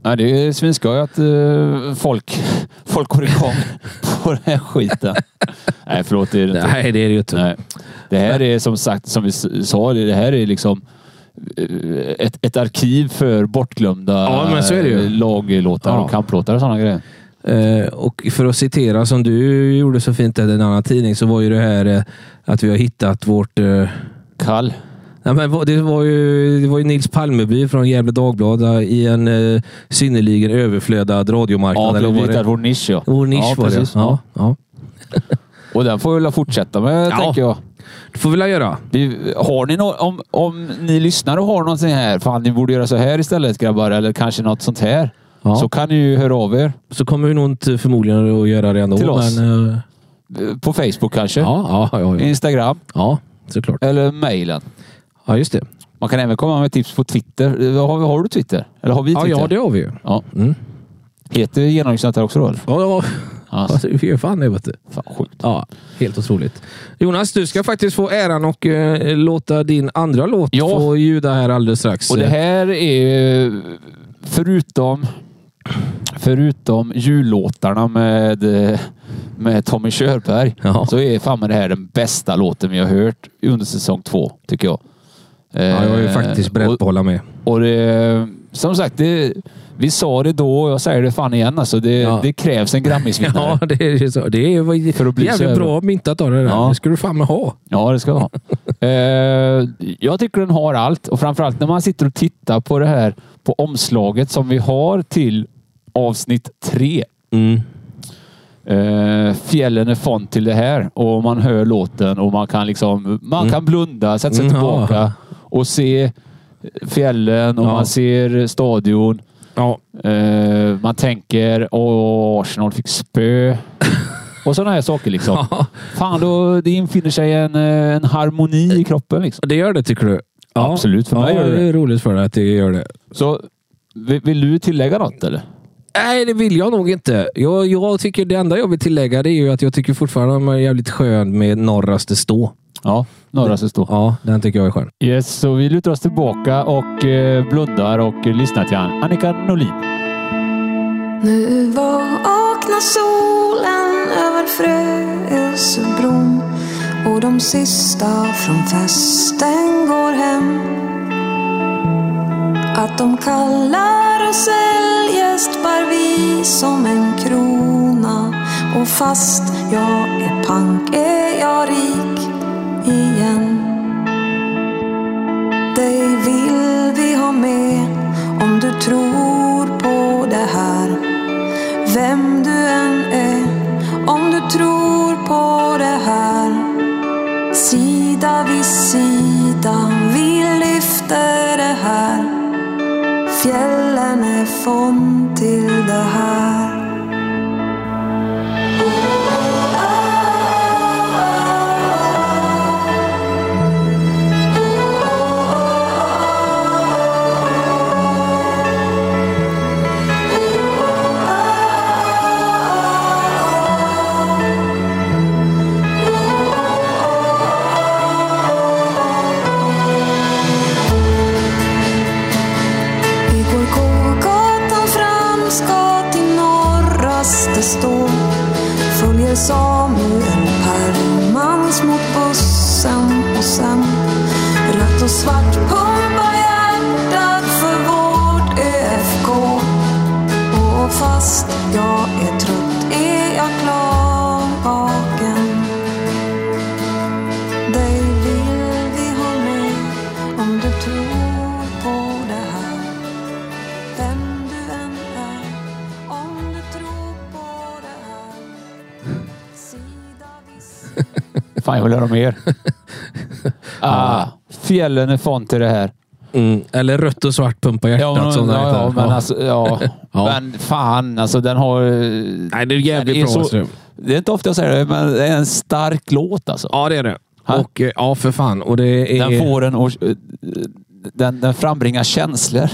Speaker 4: Nej, det är svinskoj att eh, folk, [LAUGHS] folk går igång på den
Speaker 3: [LAUGHS]
Speaker 4: här skiten. Nej, förlåt. Det är det inte.
Speaker 3: Nej, det är det ju inte.
Speaker 4: Nej. Det här är som sagt, som vi s- sa, det det här är liksom eh, ett, ett arkiv för bortglömda
Speaker 3: Ja, men så är det ju.
Speaker 4: eh, laglåtar
Speaker 3: Ja.
Speaker 4: och kamplåtar och sådana grejer.
Speaker 3: Eh, och för att citera som du gjorde så fint i en annan tidning så var ju det här eh, att vi har hittat vårt... Eh,
Speaker 4: Kall.
Speaker 3: nej, men vad- det, var ju, det var ju Nils Palmeby från Gävle Dagblad eh, i en eh, synnerligen överflödad radiomarknad.
Speaker 4: Ja,
Speaker 3: eller
Speaker 4: vi
Speaker 3: vad var
Speaker 4: hittar
Speaker 3: det?
Speaker 4: vår nisch ja.
Speaker 3: Vår nisch
Speaker 4: ja,
Speaker 3: var det.
Speaker 4: precis.
Speaker 3: Ja, ja.
Speaker 4: Och den får vi väl fortsätta med,
Speaker 3: Ja.
Speaker 4: tänker jag.
Speaker 3: Det får vi väl göra.
Speaker 4: Vi, har ni no- om, om ni lyssnar och har någonting här, fan ni borde göra så här istället grabbar, eller kanske något sånt här.
Speaker 3: Ja.
Speaker 4: Så
Speaker 3: Så,
Speaker 4: kan ni ju höra av er.
Speaker 3: kommer vi nog inte förmodligen att göra det ändå.
Speaker 4: Till oss.
Speaker 3: Men, eh, Mm.
Speaker 4: Eh, På Facebook kanske.
Speaker 3: ja, ja, ja, ja.
Speaker 4: Instagram.
Speaker 3: ja, såklart.
Speaker 4: Eller mejlen.
Speaker 3: Ja, just det.
Speaker 4: Man kan även komma med tips på Twitter. Eh, Har, har du Twitter? Eller har vi
Speaker 3: Ja,
Speaker 4: Twitter?
Speaker 3: ja, det har vi ju.
Speaker 4: Ja.
Speaker 3: Mm.
Speaker 4: Heter genomlyssnat där också då? eller?
Speaker 3: Ja, ja. [LAUGHS]
Speaker 4: Alltså,
Speaker 3: Alltså, vi gör fan det, vet du.
Speaker 4: fan sjukt.
Speaker 3: Ja, helt otroligt. Jonas, du ska faktiskt få äran och eh, låta din andra låt
Speaker 4: Ja.
Speaker 3: få ljuda här alldeles strax.
Speaker 4: Och det här är eh, förutom förutom jullåtarna med, eh, med Tommy Körberg
Speaker 3: Ja.
Speaker 4: så är fan med det här den bästa låten vi har hört under säsong två, tycker jag. Eh,
Speaker 3: ja, jag är ju faktiskt beredd
Speaker 4: och-
Speaker 3: på att hålla med.
Speaker 4: Och det, som sagt, det, vi sa det då och jag säger det fan igen. Alltså det,
Speaker 3: Ja.
Speaker 4: det krävs en Grammisvinnare.
Speaker 3: [LAUGHS] Ja, det är ju så. Det är ju
Speaker 4: För att bli så
Speaker 3: jävligt
Speaker 4: jävla-
Speaker 3: bra myntat av det där.
Speaker 4: Ja.
Speaker 3: Det ska du fan med ha.
Speaker 4: Ja, det ska vara. eh, jag tycker den har allt och framförallt när man sitter och tittar på det här på omslaget som vi har till avsnitt tre.
Speaker 3: Mm.
Speaker 4: Eh, fjällen är fond till det här och man hör låten och man kan liksom man kan blunda, sätta sig
Speaker 3: Mm, ja.
Speaker 4: tillbaka och se fjällen och
Speaker 3: Ja.
Speaker 4: man ser stadion.
Speaker 3: Ja,
Speaker 4: Eh, man tänker åh, Arsenal fick [LAUGHS] spö. och sådana här saker liksom. Fan, då, det infinner sig en, eh, en harmoni i kroppen. Liksom.
Speaker 3: det gör det tycker du? Ja.
Speaker 4: Absolut, för mig
Speaker 3: ja,
Speaker 4: gör det
Speaker 3: det är roligt för dig att det gör det.
Speaker 4: Så vill, vill du tillägga något eller?
Speaker 3: Nej, det vill jag nog inte. Jag, jag tycker det enda jag vill tillägga det är ju att jag tycker fortfarande att man är jävligt skön med norraste stå.
Speaker 4: Ja, norra står.
Speaker 3: Ja, den tycker jag är skön.
Speaker 4: Yes, så vi lutar oss tillbaka och eh, blundar och eh, lyssnar till han. Annika Norlin.
Speaker 6: Nu vaknar solen över Frösebron och de sista från festen går hem. Att de kallar oss eljest bär vi som en krona och fast jag är pank är jag rik igen. Dig vill vi ha med om du tror på det här. Vem du än är, om du tror på det här. Sida vid sida, vi lyfter det här. Fjällen är fond till det här. Vi går gågatan fram, ska till norraste stå. Följer Samuel Permans mot bussen och sen rött och svart pumpar hjärtat för vårt ÖFK. Och fast jag är trött är jag klarvaken. Dig vill vi ha med om du tror på det här. Vem du än är, om du tror på det här. Sida vid sida.
Speaker 4: Fan, jag vill höra mer. [LAUGHS] ah, fjällen är fond till det här.
Speaker 3: Mm. Eller rött och svart pumpa hjärtat.
Speaker 4: Ja, men,
Speaker 3: som den
Speaker 4: ja,
Speaker 3: heter.
Speaker 4: ja, men alltså, ja.
Speaker 3: Ja.
Speaker 4: Men fan, alltså den har... eh,
Speaker 3: Nej, det är jävligt
Speaker 4: Det är
Speaker 3: bra.
Speaker 4: så-
Speaker 3: Åström.
Speaker 4: Det är inte ofta jag säger det, men det är en stark låt alltså.
Speaker 3: Ja, det är det.
Speaker 4: Ha?
Speaker 3: Och, eh, ja, för fan. Och det är...
Speaker 4: Den får en och, eh, den, den frambringar känslor.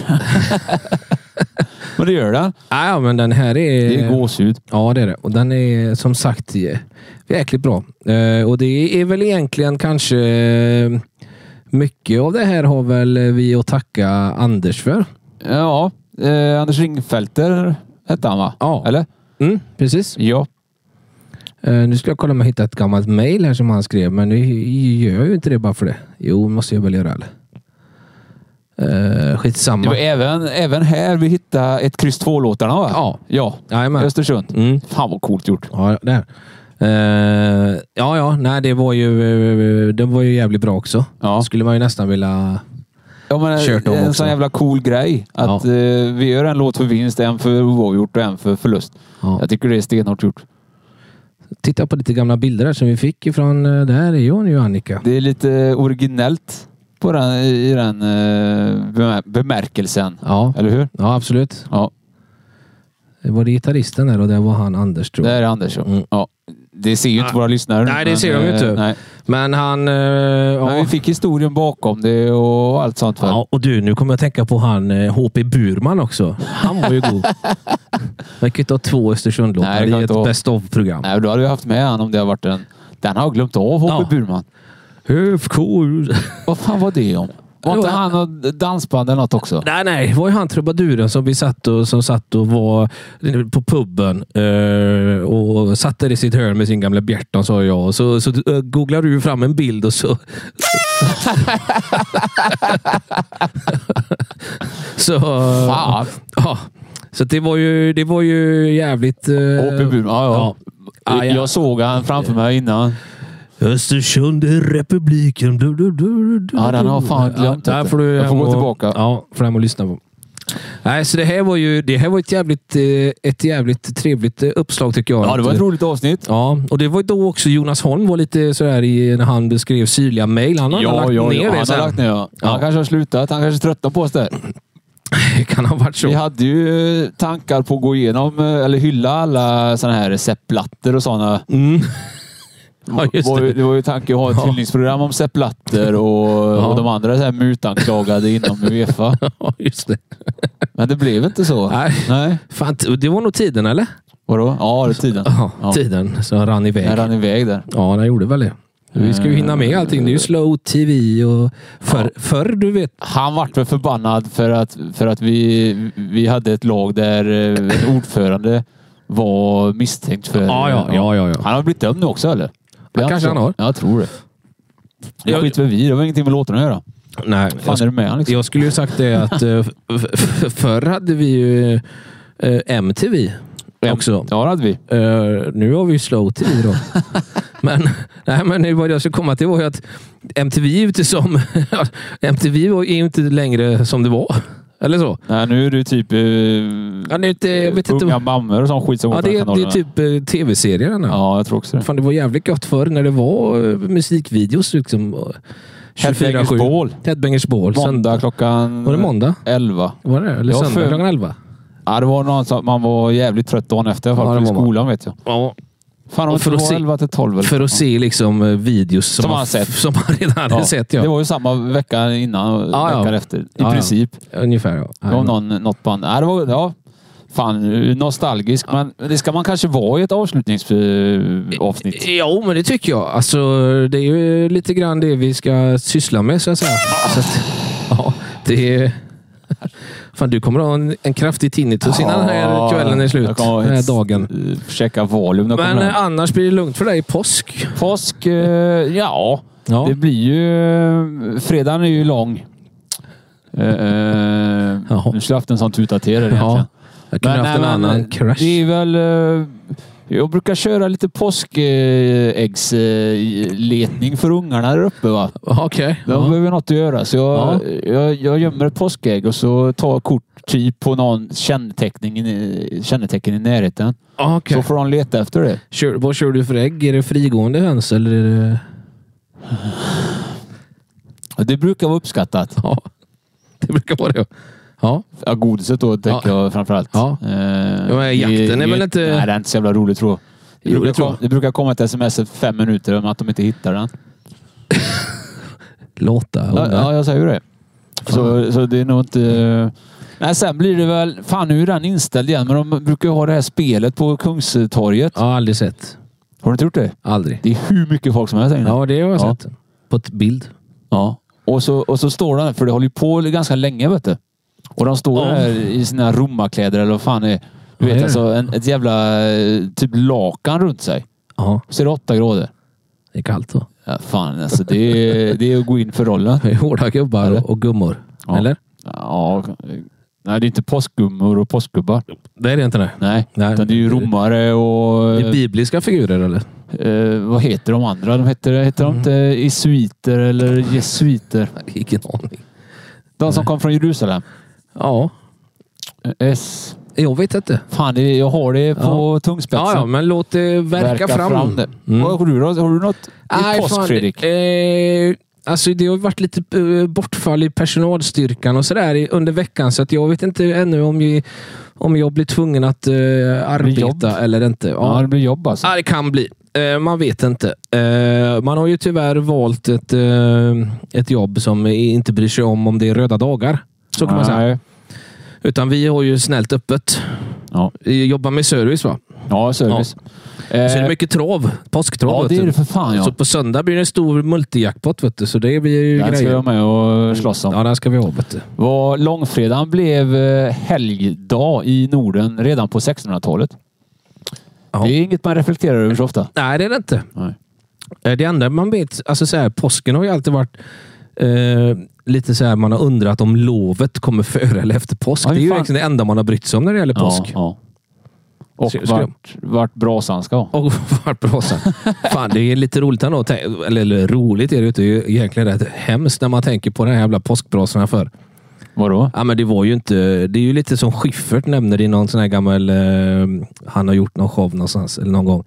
Speaker 4: [LAUGHS] men det gör den.
Speaker 3: Ja, ja, men den här är...
Speaker 4: Det är gåshud.
Speaker 3: Ja, det är det. Och den är som sagt jä- jäkligt bra. Eh, och det är väl egentligen kanske... eh, Mycket av det här har väl vi att tacka Anders för.
Speaker 4: Ja, eh, Anders Ringfelter hette han va?
Speaker 3: Ja.
Speaker 4: Eller?
Speaker 3: Mm, precis.
Speaker 4: Ja.
Speaker 3: Eh, nu ska jag kolla om jag hittar ett gammalt mejl här som han skrev, men nu gör jag ju inte det bara för det. Jo, måste jag väl göra. Eller? Eh, skitsamma.
Speaker 4: Det var även, även här vi hittade ett kryss 2-låtarna va?
Speaker 3: Ja.
Speaker 4: Ja.
Speaker 3: Jajamän.
Speaker 4: Östersund.
Speaker 3: Mm.
Speaker 4: Fan vad coolt gjort.
Speaker 3: Ja, där. Eh, ja, ja, nej, det var ju, eh, den var ju jävligt bra också.
Speaker 4: Ja.
Speaker 3: Skulle man ju nästan vilja...
Speaker 4: Ja, men
Speaker 3: Kört dem
Speaker 4: en
Speaker 3: också.
Speaker 4: sån jävla cool grej. Att eh, vi gör en låt för vinst, en för oavgjort och en för förlust.
Speaker 3: Ja.
Speaker 4: Jag tycker det är stenhårt gjort.
Speaker 3: Titta på lite gamla bilder här som vi fick ifrån... eh, Där är ju hon ju, Annika.
Speaker 4: Det är lite originellt på den, i den eh, bemär- bemärkelsen.
Speaker 3: Ja,
Speaker 4: Eller hur?
Speaker 3: ja absolut.
Speaker 4: Ja,
Speaker 3: Det var det gitarristen där och där var han Anders, tror
Speaker 4: det
Speaker 3: jag.
Speaker 4: är Anders. ja.
Speaker 3: Mm.
Speaker 4: Ja. Det ser ju inte
Speaker 3: Nej.
Speaker 4: våra lyssnare.
Speaker 3: Nej, det
Speaker 4: men,
Speaker 3: ser de ju
Speaker 4: eh,
Speaker 3: inte.
Speaker 4: Nej.
Speaker 3: Men han... eh,
Speaker 4: Men
Speaker 3: ja.
Speaker 4: vi fick historien bakom det och allt sånt. För.
Speaker 3: Ja, och du, nu kommer jag tänka på han eh, HP Burman också. Han var ju
Speaker 4: [LAUGHS]
Speaker 3: god. Man kan ju inte ha två
Speaker 4: Nej, det
Speaker 3: Östersundlåtar
Speaker 4: kan
Speaker 3: i
Speaker 4: inte ha.
Speaker 3: ett best of-program.
Speaker 4: Nej, då hade vi haft med han om det hade varit en... Den har jag glömt av, H.P.
Speaker 3: Ja.
Speaker 4: Burman.
Speaker 3: HFK.
Speaker 4: Vad fan var det om? Var
Speaker 3: Jo,
Speaker 4: inte
Speaker 3: han-
Speaker 4: han och dansband eller något också?
Speaker 3: Nej, nej. Det var ju han trubaduren som, vi satt och, som satt och var på puben eh, och satt där i sitt hörn med sin gamla Bjerton, sa jag. Och så, så eh, googlar du fram en bild och så... [LAUGHS] så...
Speaker 4: Fan!
Speaker 3: Ja. Så det var ju, det var ju jävligt... eh,
Speaker 4: H.P. Burman, ja, Ah, ja.
Speaker 3: Ja, ja.
Speaker 4: Jag såg han framför mig innan.
Speaker 3: Östersund är republiken. Du, du, du, du,
Speaker 4: Ja, den har fan glömt
Speaker 3: Ja, där
Speaker 4: detta.
Speaker 3: får du
Speaker 4: Jag får
Speaker 3: hem
Speaker 4: gå
Speaker 3: och-
Speaker 4: tillbaka.
Speaker 3: Ja, får hem och lyssna på. Nej, så det här var ju det här var ett, jävligt, eh, ett jävligt trevligt eh, uppslag tycker jag.
Speaker 4: Ja, det var ett roligt avsnitt.
Speaker 3: Ja, och det var ju då också Jonas Holm var lite sådär i, när han beskrev syrliga mejl. Han har lagt ner det
Speaker 4: han har
Speaker 3: sen.
Speaker 4: lagt ner. ja.
Speaker 3: Ja.
Speaker 4: Han kanske har slutat. Han kanske tröttnar på oss där.
Speaker 3: Det [LAUGHS] kan ha varit så.
Speaker 4: Vi hade ju eh, tankar på att gå igenom, eh, eller hylla alla sådana här receptplattor och sådana.
Speaker 3: Mm. [LAUGHS] Ja, just
Speaker 4: var, ju-
Speaker 3: det.
Speaker 4: det var ju tanken att ha ett
Speaker 3: [LAUGHS] Ja.
Speaker 4: hyllningsprogram om Sepp Blatter och,
Speaker 3: Ja.
Speaker 4: och de andra så här mutanklagade inom Uefa.
Speaker 3: Ja, just det.
Speaker 4: Men det blev inte så.
Speaker 3: Nej.
Speaker 4: Nej.
Speaker 3: Fan, t- det var nog tiden, eller?
Speaker 4: Vadå? Ja, det är tiden.
Speaker 3: Ja,
Speaker 4: Ja.
Speaker 3: tiden som rann iväg.
Speaker 4: Den rann iväg där.
Speaker 3: Ja, den gjorde väl det. Vi ska ju hinna
Speaker 4: Eh,
Speaker 3: med allting. Det är ju slow tv och förr, förr du vet.
Speaker 4: Han vart väl förbannad för att, för att vi, vi hade ett lag där eh, en ordförande var misstänkt för...
Speaker 3: Ja, ja, ja, ja, ja.
Speaker 4: Han har blivit dömd nu också, eller?
Speaker 3: Ja, kanske
Speaker 4: tror-
Speaker 3: han har.
Speaker 4: Jag tror det. Det
Speaker 3: Jag-
Speaker 4: skiter väl vi i. Det var ingenting med låtarna att göra.
Speaker 3: Nej,
Speaker 4: Fan, är du med han liksom?
Speaker 3: Jag skulle ju sagt det att eh, f- f- förr hade vi ju eh, MTV också.
Speaker 4: Ja, det hade vi.
Speaker 3: Eh, nu har vi ju slow tv då. [LAUGHS] men, nej, men nu vad jag skulle komma till var ju att MTV är ju inte som... [LAUGHS] MTV var ju inte längre som det var. Eller så.
Speaker 4: Nej, nu är det ju typ... eh,
Speaker 3: Ja, det är inte, jag vet inte.
Speaker 4: unga mammor och sån skit som går
Speaker 3: Ja,
Speaker 4: på
Speaker 3: det,
Speaker 4: den
Speaker 3: är- det
Speaker 4: kanalen.
Speaker 3: är typ eh, tv-serier den här.
Speaker 4: Ja, jag tror också det.
Speaker 3: Fan, det var jävligt gött förr när det var eh, musikvideos. Liksom, eh, 24-7.
Speaker 4: Headbangers Ball.
Speaker 3: Headbangers Ball.
Speaker 4: Måndag
Speaker 3: Söndag.
Speaker 4: klockan...
Speaker 3: Var det måndag?
Speaker 4: 11.
Speaker 3: Var det? Eller
Speaker 4: Ja,
Speaker 3: söndag
Speaker 4: för-
Speaker 3: klockan 11?
Speaker 4: Ja, det var någon som man var jävligt trött dagen efter.
Speaker 3: Ja, det
Speaker 4: Ja, I
Speaker 3: var man.
Speaker 4: skolan vet jag.
Speaker 3: Ja.
Speaker 4: Fan,
Speaker 3: Och
Speaker 4: om
Speaker 3: för
Speaker 4: det
Speaker 3: att
Speaker 4: var
Speaker 3: se-
Speaker 4: 11 till 12 eller
Speaker 3: För att se liksom, eh, videos som,
Speaker 4: Som
Speaker 3: man,
Speaker 4: man sett.
Speaker 3: som man redan hade
Speaker 4: Ja.
Speaker 3: sett. Ja.
Speaker 4: Det var ju samma vecka innan och
Speaker 3: Ja, ja.
Speaker 4: veckan efter. I
Speaker 3: Ja, ja.
Speaker 4: princip.
Speaker 3: Ungefär ja.
Speaker 4: Det var någon, något band. Ja, det var, ja. Fan, nostalgisk. Men det ska man kanske vara i ett eh, avslutningsavsnitt.
Speaker 3: Jo, men det tycker jag. Alltså, det är ju lite grann det vi ska syssla med, så att säga. Så att, ja, det är... Fan, du kommer ha en, en kraftig tinnitus innan den här kvällen är slut.
Speaker 4: Jag kommer
Speaker 3: Den här
Speaker 4: ett-
Speaker 3: dagen.
Speaker 4: eh, Checka Valium. när jag
Speaker 3: Men
Speaker 4: kommer
Speaker 3: eh,
Speaker 4: hem.
Speaker 3: annars blir det lugnt för dig i påsk.
Speaker 4: Påsk, eh, ja.
Speaker 3: Ja.
Speaker 4: Det blir ju... Fredagen är ju lång. Eh, eh,
Speaker 3: Ja.
Speaker 4: Nu skulle jag haft en sån tuta till er egentligen.
Speaker 3: Ja. Jag kunde haft en annan crash.
Speaker 4: eh, Det är väl... eh, Jag brukar köra lite påskäggsletning för ungarna där uppe. Va?
Speaker 3: Okej.
Speaker 4: De
Speaker 3: Ja.
Speaker 4: behöver något att göra, så jag,
Speaker 3: Ja.
Speaker 4: jag, jag gömmer ett påskägg och så tar jag kort typ på någon känneteckning, i- kännetecken i närheten.
Speaker 3: Okej.
Speaker 4: Så får de leta efter det.
Speaker 3: Kör, vad kör du för ägg? Är det frigående höns eller? Är det...
Speaker 4: Och Det brukar vara uppskattat.
Speaker 3: [LAUGHS] Ja. Det brukar vara det. Ja.
Speaker 4: Ja, godiset då tänker jag framförallt.
Speaker 3: Ja.
Speaker 4: Eh,
Speaker 3: men
Speaker 4: det-
Speaker 3: jakten är
Speaker 4: det-
Speaker 3: väl inte-
Speaker 4: Nej, det är inte så jävla roligt tror jag. Det
Speaker 3: Jo, det
Speaker 4: brukar,
Speaker 3: tror jag.
Speaker 4: kom, det brukar komma ett sms i fem minuter om att de inte hittar den.
Speaker 3: Låta.
Speaker 4: Ja, ja, jag säger ju det. Så, så det är nog inte... Nej, sen blir det väl... Fan, nu är den inställd igen, men de brukar ju ha det här spelet på Kungstorget.
Speaker 3: Ja, aldrig sett.
Speaker 4: Har du inte gjort det?
Speaker 3: Aldrig.
Speaker 4: Det är hur mycket folk som helst där inne.
Speaker 3: Ja, det har jag
Speaker 4: Ja.
Speaker 3: sett. På ett bild.
Speaker 4: Ja. Och, så, och så står de där, för det håller ju på ganska länge, vet du. Och de står
Speaker 3: Ja.
Speaker 4: där i sina romarkläder eller vad fan det är.
Speaker 3: Ja, det
Speaker 4: Du
Speaker 3: är
Speaker 4: vet,
Speaker 3: det.
Speaker 4: alltså en, ett jävla eh, typ lakan runt sig.
Speaker 3: Ja,
Speaker 4: Så är det åtta grader.
Speaker 3: det är kallt då.
Speaker 4: Ja, fan, alltså det är, det är att gå in för rollen.
Speaker 3: Det är hårda gubbar
Speaker 4: Eller?
Speaker 3: och gummor.
Speaker 4: Ja.
Speaker 3: Eller?
Speaker 4: Ja. Nej, det är inte påskgummor och påskgubbar.
Speaker 3: Det är det inte. Nej.
Speaker 4: Nej,
Speaker 3: Nej.
Speaker 4: utan det är ju romare och...
Speaker 3: Det är bibliska figurer eller?
Speaker 4: eh, vad heter de andra? De heter, heter
Speaker 3: Mm.
Speaker 4: de inte jesuiter eller jesuiter?
Speaker 3: Ingen aning.
Speaker 4: De som kom från Jerusalem.
Speaker 3: Ja,
Speaker 4: Eh, S.
Speaker 3: jag vet inte.
Speaker 4: Fan, det, jag har det på tungspetsen.
Speaker 3: Ja, ja, men låt det verka, fram.
Speaker 4: det.
Speaker 3: Mm.
Speaker 4: Vad har du då? Har du något i
Speaker 3: Nej,
Speaker 4: påsk,
Speaker 3: fan,
Speaker 4: Fredrik?
Speaker 3: Eh, alltså det har ju varit lite eh, bortfall i personalstyrkan och sådär i- under veckan, så att jag vet inte ännu om, vi, om jag blir tvungen att eh,
Speaker 4: jobb.
Speaker 3: arbeta eller inte.
Speaker 4: Ja,
Speaker 3: Ja.
Speaker 4: det blir jobb alltså.
Speaker 3: Ja, det kan bli. Eh, Man vet inte. Eh, Man har ju tyvärr valt ett, eh, ett jobb som inte bryr sig om om det är röda dagar. Så kan man säga.
Speaker 4: Nej.
Speaker 3: Utan vi har ju snällt öppet.
Speaker 4: Ja.
Speaker 3: Vi jobbar med service va?
Speaker 4: ja, service.
Speaker 3: Så är det
Speaker 4: Eh,
Speaker 3: mycket trav. Påsktrav.
Speaker 4: ja,
Speaker 3: vet
Speaker 4: det är
Speaker 3: du.
Speaker 4: det för fan ja.
Speaker 3: Så på söndag blir det en stor multijackpot, vet du. Så det blir ju
Speaker 4: Den ska
Speaker 3: grejer. Mm.
Speaker 4: jag med och slåss om.
Speaker 3: Ja, den ska vi ha, vet du.
Speaker 4: Vad långfredagen blev eh, helgdag i Norden redan på 1600-talet.
Speaker 3: Ja.
Speaker 4: Det är inget man reflekterar över så ofta.
Speaker 3: Nej, det är det inte.
Speaker 4: Nej.
Speaker 3: Eh, Det enda man vet, alltså så här, påsken har ju alltid varit eh, lite så här, man har undrat om lovet kommer före eller efter påsk.
Speaker 4: Ja,
Speaker 3: det är ju
Speaker 4: fan.
Speaker 3: liksom det enda man har brytt sig om när det gäller påsk.
Speaker 4: Ja, ja. Och
Speaker 3: Ska- ska
Speaker 4: vart, vart brasan ska. vara.
Speaker 3: Och [LAUGHS] vart brasan. Fan, det är lite roligt ändå. att tän- Eller, eller roligt är det ju inte. Det är ju egentligen rätt hemskt när man tänker på den här jävla påskbrasan här för.
Speaker 4: Vadå?
Speaker 3: Ja, men det var ju inte... Det är ju lite som Schiffert nämner i någon sån här gammal... Eh, han har gjort någon show någonstans, eller någon gång.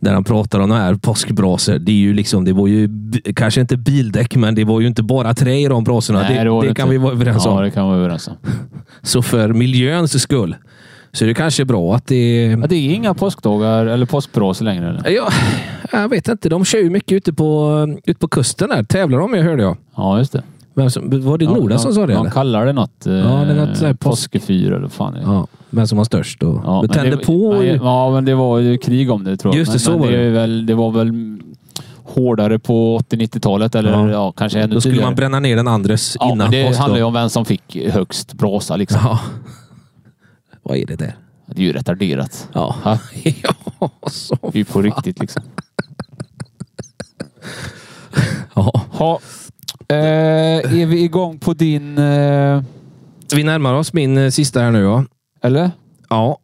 Speaker 3: Där han pratar om de här påskbrasor. Det, är ju liksom, det var ju b- kanske inte bildäck, men det var ju inte bara trä i de brasorna. det
Speaker 4: var
Speaker 3: det,
Speaker 4: inte.
Speaker 3: kan vi vara överens
Speaker 4: Ja,
Speaker 3: om.
Speaker 4: det kan vi vara överens om.
Speaker 3: Så för miljöns skull så är det kanske bra att det...
Speaker 4: Ja, det är inga påskdagar eller påskbrasor längre. Eller?
Speaker 3: Ja, jag vet inte. De kör ju mycket ute på, ute på kusten där. Tävlar de med hörde jag.
Speaker 4: Ja, just det.
Speaker 3: Vem som, var det Norden
Speaker 4: de,
Speaker 3: som sa det?
Speaker 4: De
Speaker 3: eller?
Speaker 4: kallar det något.
Speaker 3: Ja, det är något
Speaker 4: eh,
Speaker 3: så här påsk-
Speaker 4: påskefyr eller vad fan är det?
Speaker 3: Ja, vem som var störst. Och,
Speaker 4: Ja,
Speaker 3: men
Speaker 4: men
Speaker 3: tände
Speaker 4: det,
Speaker 3: på...
Speaker 4: nej, Ja, men det var ju krig om det tror jag.
Speaker 3: Just det,
Speaker 4: men,
Speaker 3: så
Speaker 4: men
Speaker 3: var
Speaker 4: det.
Speaker 3: det.
Speaker 4: är Väl, det var väl hårdare på 80-90-talet eller ja.
Speaker 3: Ja.
Speaker 4: kanske ännu
Speaker 3: Då skulle
Speaker 4: tidigare.
Speaker 3: man bränna ner den andres
Speaker 4: ja, men
Speaker 3: innan
Speaker 4: Det
Speaker 3: påsk.
Speaker 4: handlar ju
Speaker 3: då.
Speaker 4: om vem som fick högst brasa liksom.
Speaker 3: [LAUGHS] Ja. Vad är det där?
Speaker 4: Det är ju retarderat.
Speaker 3: Ja.
Speaker 4: Ja.
Speaker 3: [LAUGHS] ja, så.
Speaker 4: Det är ju på riktigt liksom.
Speaker 3: Ja.
Speaker 4: Ha. Eh, är vi igång på din... Eh,
Speaker 3: Vi närmar oss min eh, sista här nu. Ja,
Speaker 4: eller?
Speaker 3: ja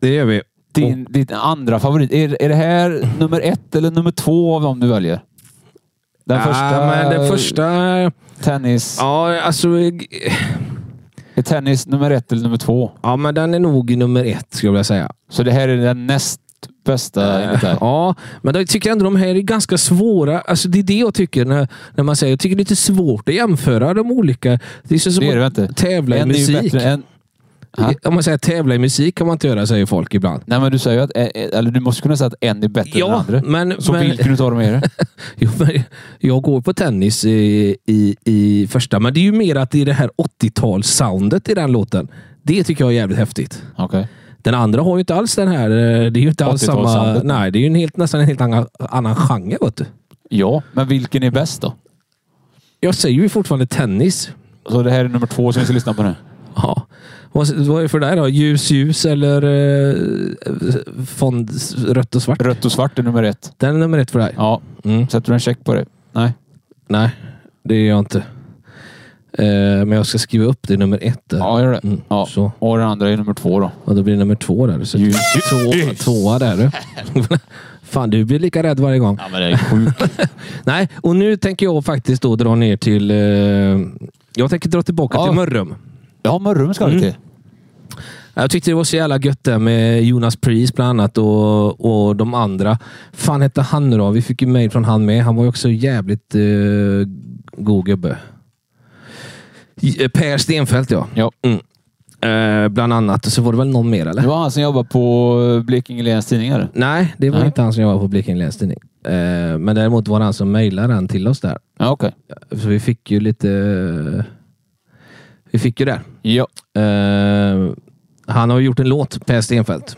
Speaker 3: det gör vi.
Speaker 4: Din, din andra favorit. Är, är det här nummer ett eller nummer två av dem du väljer? Den
Speaker 3: Ja,
Speaker 4: första...
Speaker 3: Men den första...
Speaker 4: Tennis.
Speaker 3: Ja, alltså... eh,
Speaker 4: Är tennis nummer ett eller nummer två?
Speaker 3: Ja, men den är nog nummer ett, skulle jag vilja säga.
Speaker 4: Så det här är den näst bästa enligt dig?
Speaker 3: Ja, men jag tycker ändå de här är ganska svåra. Alltså det är det jag tycker när, när man säger. Jag tycker det är lite svårt att jämföra de olika. Det är så som
Speaker 4: Det är det väl inte?
Speaker 3: att tävla i
Speaker 4: En är ju
Speaker 3: musik.
Speaker 4: bättre än- Ja.
Speaker 3: Om man säger tävla i musik kan man inte göra, säger folk ibland.
Speaker 4: Nej, men du säger ju att... eh, Eller du måste kunna säga att en är bättre än den
Speaker 3: Ja,
Speaker 4: andra.
Speaker 3: men,
Speaker 4: Så
Speaker 3: men,
Speaker 4: vilken utav dem är det? [LAUGHS]
Speaker 3: jo, men [LAUGHS] jag går på tennis i, i, i första, men det är ju mer att det är det här 80-talssoundet i den låten. Det tycker jag är jävligt häftigt.
Speaker 4: Okej.
Speaker 3: Den andra har ju inte alls den här... eh, Det är ju inte alls samma...
Speaker 4: 80-talssoundet.
Speaker 3: Nej, det är ju en helt, nästan en helt annan, annan genre. Vet du.
Speaker 4: Ja, men vilken är bäst då?
Speaker 3: Jag säger ju fortfarande tennis.
Speaker 4: Så det här är nummer två som vi ska lyssna på nu?
Speaker 3: Ja. Vad vad är det för där då? Ljus, ljus eller eh, fond, rött och svart?
Speaker 4: Rött och svart är nummer ett.
Speaker 3: Den är nummer ett för dig.
Speaker 4: Ja.
Speaker 3: Mm.
Speaker 4: Sätter du en check på det? Nej.
Speaker 3: Nej, det gör jag inte. Eh, men jag ska skriva upp det nummer ett. Där.
Speaker 4: Ja, gör det.
Speaker 3: Mm,
Speaker 4: Ja.
Speaker 3: Så.
Speaker 4: Och den andra är nummer två då.
Speaker 3: Och då blir det nummer två där. Så
Speaker 4: Ljus.
Speaker 3: två, tvåa där
Speaker 4: [LAUGHS]
Speaker 3: du. Fan, du blir lika rädd varje gång.
Speaker 4: Ja, men det är sjukt.
Speaker 3: Nej, och nu tänker jag faktiskt då dra ner till... Eh, jag tänker dra tillbaka
Speaker 4: Ja.
Speaker 3: till Mörrum.
Speaker 4: Ja, Mörrum ska
Speaker 3: Mm.
Speaker 4: det till.
Speaker 3: Jag tyckte det var så jävla gött där med Jonas Priest bland annat och, och de andra. fan hette han nu då? Vi fick ju mejl från han med. Han var ju också jävligt eh, god gubbe. J- eh, Per Stenfeldt ja.
Speaker 4: Ja.
Speaker 3: Mm. Eh, bland annat. Och så var det väl någon mer eller?
Speaker 4: Det var han som jobbade på eh, Blekinge Läns Tidningar.
Speaker 3: Nej, det var
Speaker 4: Nej.
Speaker 3: inte han som jobbade på Blekinge Läns Tidning. Eh, men däremot var det han som mejlade den till oss där.
Speaker 4: Ja, okej.
Speaker 3: Så vi fick ju lite... vi fick ju det.
Speaker 4: Ja.
Speaker 3: Eh, han har ju gjort en låt, Per Stenfeldt.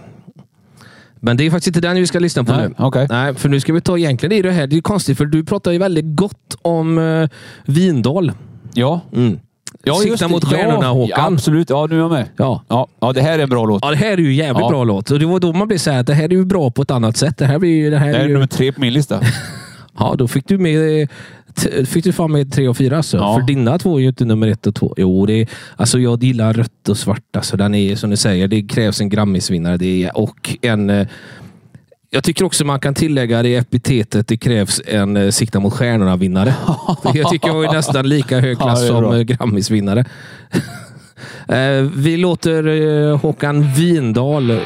Speaker 3: Men det är faktiskt inte den vi ska lyssna på
Speaker 4: Nej,
Speaker 3: nu.
Speaker 4: Okej.
Speaker 3: Nej, för nu ska vi ta egentligen det är det här. Det är ju konstigt för du pratar ju väldigt gott om uh, Vindal.
Speaker 4: Ja.
Speaker 3: Mm.
Speaker 4: Ja, just
Speaker 3: Sikta
Speaker 4: det.
Speaker 3: mot stjärnorna
Speaker 4: ja,
Speaker 3: Håkan.
Speaker 4: Ja, absolut. Ja, nu är jag med.
Speaker 3: Ja.
Speaker 4: Ja, ja det här är en bra låt.
Speaker 3: ja, det här är ju jävligt
Speaker 4: Ja.
Speaker 3: bra låt. Och det var då man blev så här att det här är ju bra på ett annat sätt. Det här blir ju... Det här
Speaker 4: Det
Speaker 3: är
Speaker 4: här är nummer
Speaker 3: ju
Speaker 4: tre på min lista.
Speaker 3: ja, då fick du med... eh, t- Fick du fram med tre och fyra alltså.
Speaker 4: Ja.
Speaker 3: För dina två är ju inte nummer ett och två. Jo, det är, alltså jag gillar rött och svart. Alltså den är som du säger, det krävs en Grammisvinnare. Det är, och en... eh, Jag tycker också man kan tillägga det epitetet det krävs en eh, sikta mot stjärnorna-vinnare. [LAUGHS] För jag tycker jag är nästan lika hög
Speaker 4: [LAUGHS] Ja,
Speaker 3: klass
Speaker 4: det är
Speaker 3: som
Speaker 4: bra.
Speaker 3: eh, Grammisvinnare. [LAUGHS] Eh, Vi låter eh, Håkan Vindal eh,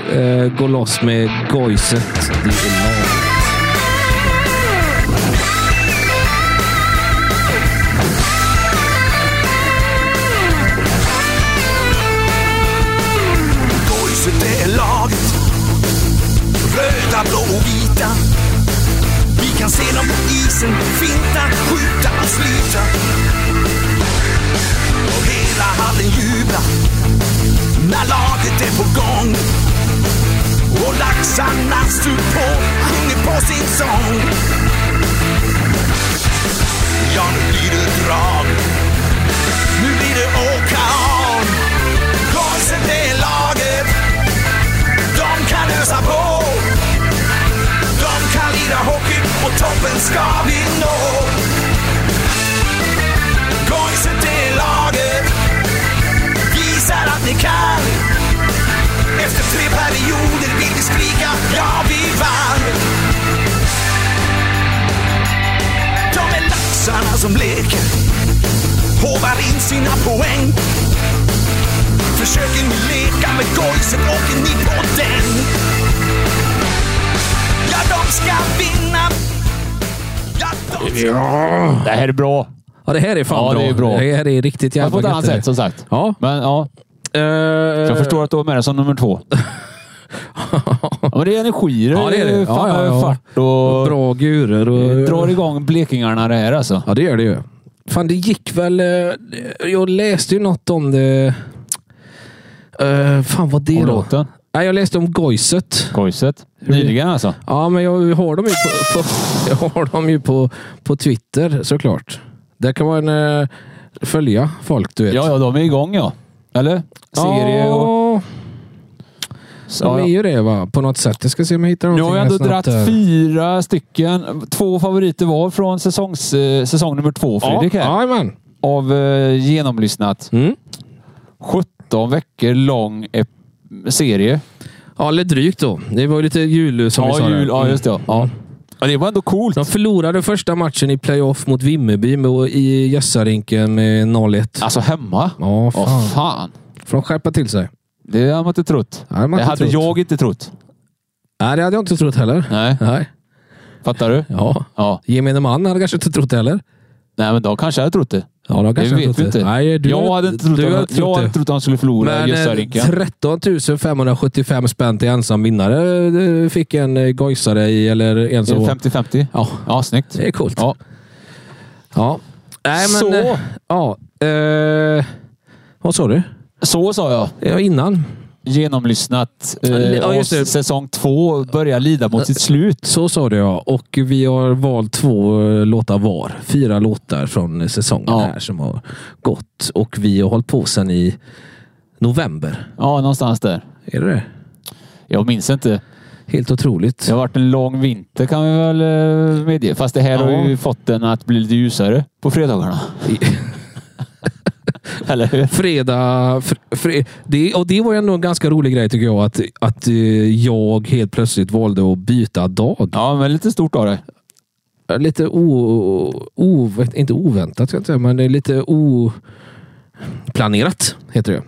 Speaker 3: gå loss med Goiset. Det är långt.
Speaker 5: Boyset är laget Röda, blå och vita Vi kan se dem på isen Finta, skjuta, slita Och hela hallen jublar När laget är på gång Och laxarna står på Sjunger på sin sång Ja, nu blir det drag Nu blir det åka av Korsen det är laget De kan ösa på De kan lira hockey och toppen ska vi nå Korsen det är laget Visar att ni kan Efter tre perioder vill vi skrika Ja, vi vann De är laxarna som leker håvar in sina poäng. Försöker ni leka med gojset åker ni på den. Ja, de ska vinna. Ja, de ska...
Speaker 4: Det här är bra.
Speaker 3: [LAUGHS] Ja, det här är fan
Speaker 4: Ja,
Speaker 3: bra.
Speaker 4: det är bra.
Speaker 3: Det här är riktigt
Speaker 4: Men
Speaker 3: jävla
Speaker 4: på ett
Speaker 3: gött
Speaker 4: annat
Speaker 3: det här.
Speaker 4: sätt som sagt.
Speaker 3: Ja.
Speaker 4: Men ja,
Speaker 3: Eh,
Speaker 4: jag förstår att du har med det som
Speaker 3: [LAUGHS]
Speaker 4: nummer två. ja, men det är energier.
Speaker 3: Ja, det är det.
Speaker 4: Fan,
Speaker 3: Ja, ja, ja.
Speaker 4: Fart och...
Speaker 3: Bra gurer och...
Speaker 4: eh, Drar igång blekingarna det här alltså.
Speaker 3: Ja, det gör det ju. Fan, det gick väl... eh, Jag läste ju något om det... Eh, fan, vad det då?
Speaker 4: Om låten.
Speaker 3: Nej, jag läste om Goiset.
Speaker 4: Koiset. Nyligen alltså.
Speaker 3: Ja, men jag har dem ju på,
Speaker 4: [LAUGHS]
Speaker 3: på, jag har dem ju på, på Twitter såklart. Där kan man eh, följa folk, du vet.
Speaker 4: Ja, ja, de är igång ja. Eller? Serie och...
Speaker 3: Ja, de
Speaker 4: Ja, ja.
Speaker 3: är ju det va? På något sätt. Jag ska se om jag hittar
Speaker 4: Nu
Speaker 3: någonting.
Speaker 4: har jag ändå
Speaker 3: här eh. snabbt
Speaker 4: dratt
Speaker 3: här.
Speaker 4: fyra stycken. Två favoriter var från säsongs, eh, säsong nummer två, Fredrik. Här.
Speaker 3: Ja, jajamän.
Speaker 4: Av eh, genomlyssnat.
Speaker 3: Mm.
Speaker 4: 17 veckor lång ep- serie.
Speaker 3: Ja, eller drygt då. Det var ju lite jul som vi sa.
Speaker 4: ja,
Speaker 3: där.
Speaker 4: jul, ja,
Speaker 3: Mm.
Speaker 4: just det. Ja. Ja. det var ändå coolt.
Speaker 3: De förlorade första matchen i playoff mot Vimmerby med- i Gössarinken med 0-1.
Speaker 4: Alltså hemma.
Speaker 3: Ja, fan.
Speaker 4: Åh fan.
Speaker 3: Får de skärpa till sig?
Speaker 4: Det hade man inte trott.
Speaker 3: Nej, man
Speaker 4: det
Speaker 3: inte
Speaker 4: hade
Speaker 3: trott.
Speaker 4: jag inte trott.
Speaker 3: Nej, det hade jag inte trott heller.
Speaker 4: Nej,
Speaker 3: Nej.
Speaker 4: fattar du?
Speaker 3: Ja.
Speaker 4: Ja.
Speaker 3: Gemene man hade kanske inte trott det heller.
Speaker 4: Nej, men de kanske hade trott det.
Speaker 3: Ja, de kanske
Speaker 4: det vet
Speaker 3: hade trott
Speaker 4: vi inte.
Speaker 3: Nej, du
Speaker 4: jag hade inte trott,
Speaker 3: du
Speaker 4: att,
Speaker 3: hade
Speaker 4: jag hade
Speaker 3: trott det.
Speaker 4: trott att de skulle förlora
Speaker 3: Men
Speaker 4: Göstarinken.
Speaker 3: eh, 13 575 spänn till ensam vinnare eh, fick en eh, Goisare i, eller en som...
Speaker 4: 50-50.
Speaker 3: Ja,
Speaker 4: Ja, snyggt.
Speaker 3: det är coolt.
Speaker 4: Ja.
Speaker 3: Ja. Nej, men...
Speaker 4: Så.
Speaker 3: eh, Ja. Eh, vad sa du?
Speaker 4: Så sa jag.
Speaker 3: Ja, innan.
Speaker 4: Genomlyssnat. Eh,
Speaker 3: Ja, just det.
Speaker 4: och säsong två börjar lida mot sitt slut.
Speaker 3: Så sa du ja. Och vi har valt två eh, låtar var. Fyra låtar från eh, säsongen
Speaker 4: Ja.
Speaker 3: här som har gått. Och vi har hållit på sedan i november.
Speaker 4: Ja, någonstans där.
Speaker 3: Är det det?
Speaker 4: Jag minns inte.
Speaker 3: Helt otroligt.
Speaker 4: Det har varit en lång vinter kan vi väl eh, medge. Fast det här har ju fått den att bli lite ljusare på fredagarna. [LAUGHS] Eller hur?
Speaker 3: Fredag... Fr, fre, det, och det var ju ändå en ganska rolig grej tycker jag. Att, att eh, jag helt plötsligt valde att byta dag.
Speaker 4: Ja, men lite stort av det.
Speaker 3: Eh, Lite o, o... Inte oväntat ska jag inte säga, men det är lite oplanerat. Heter det.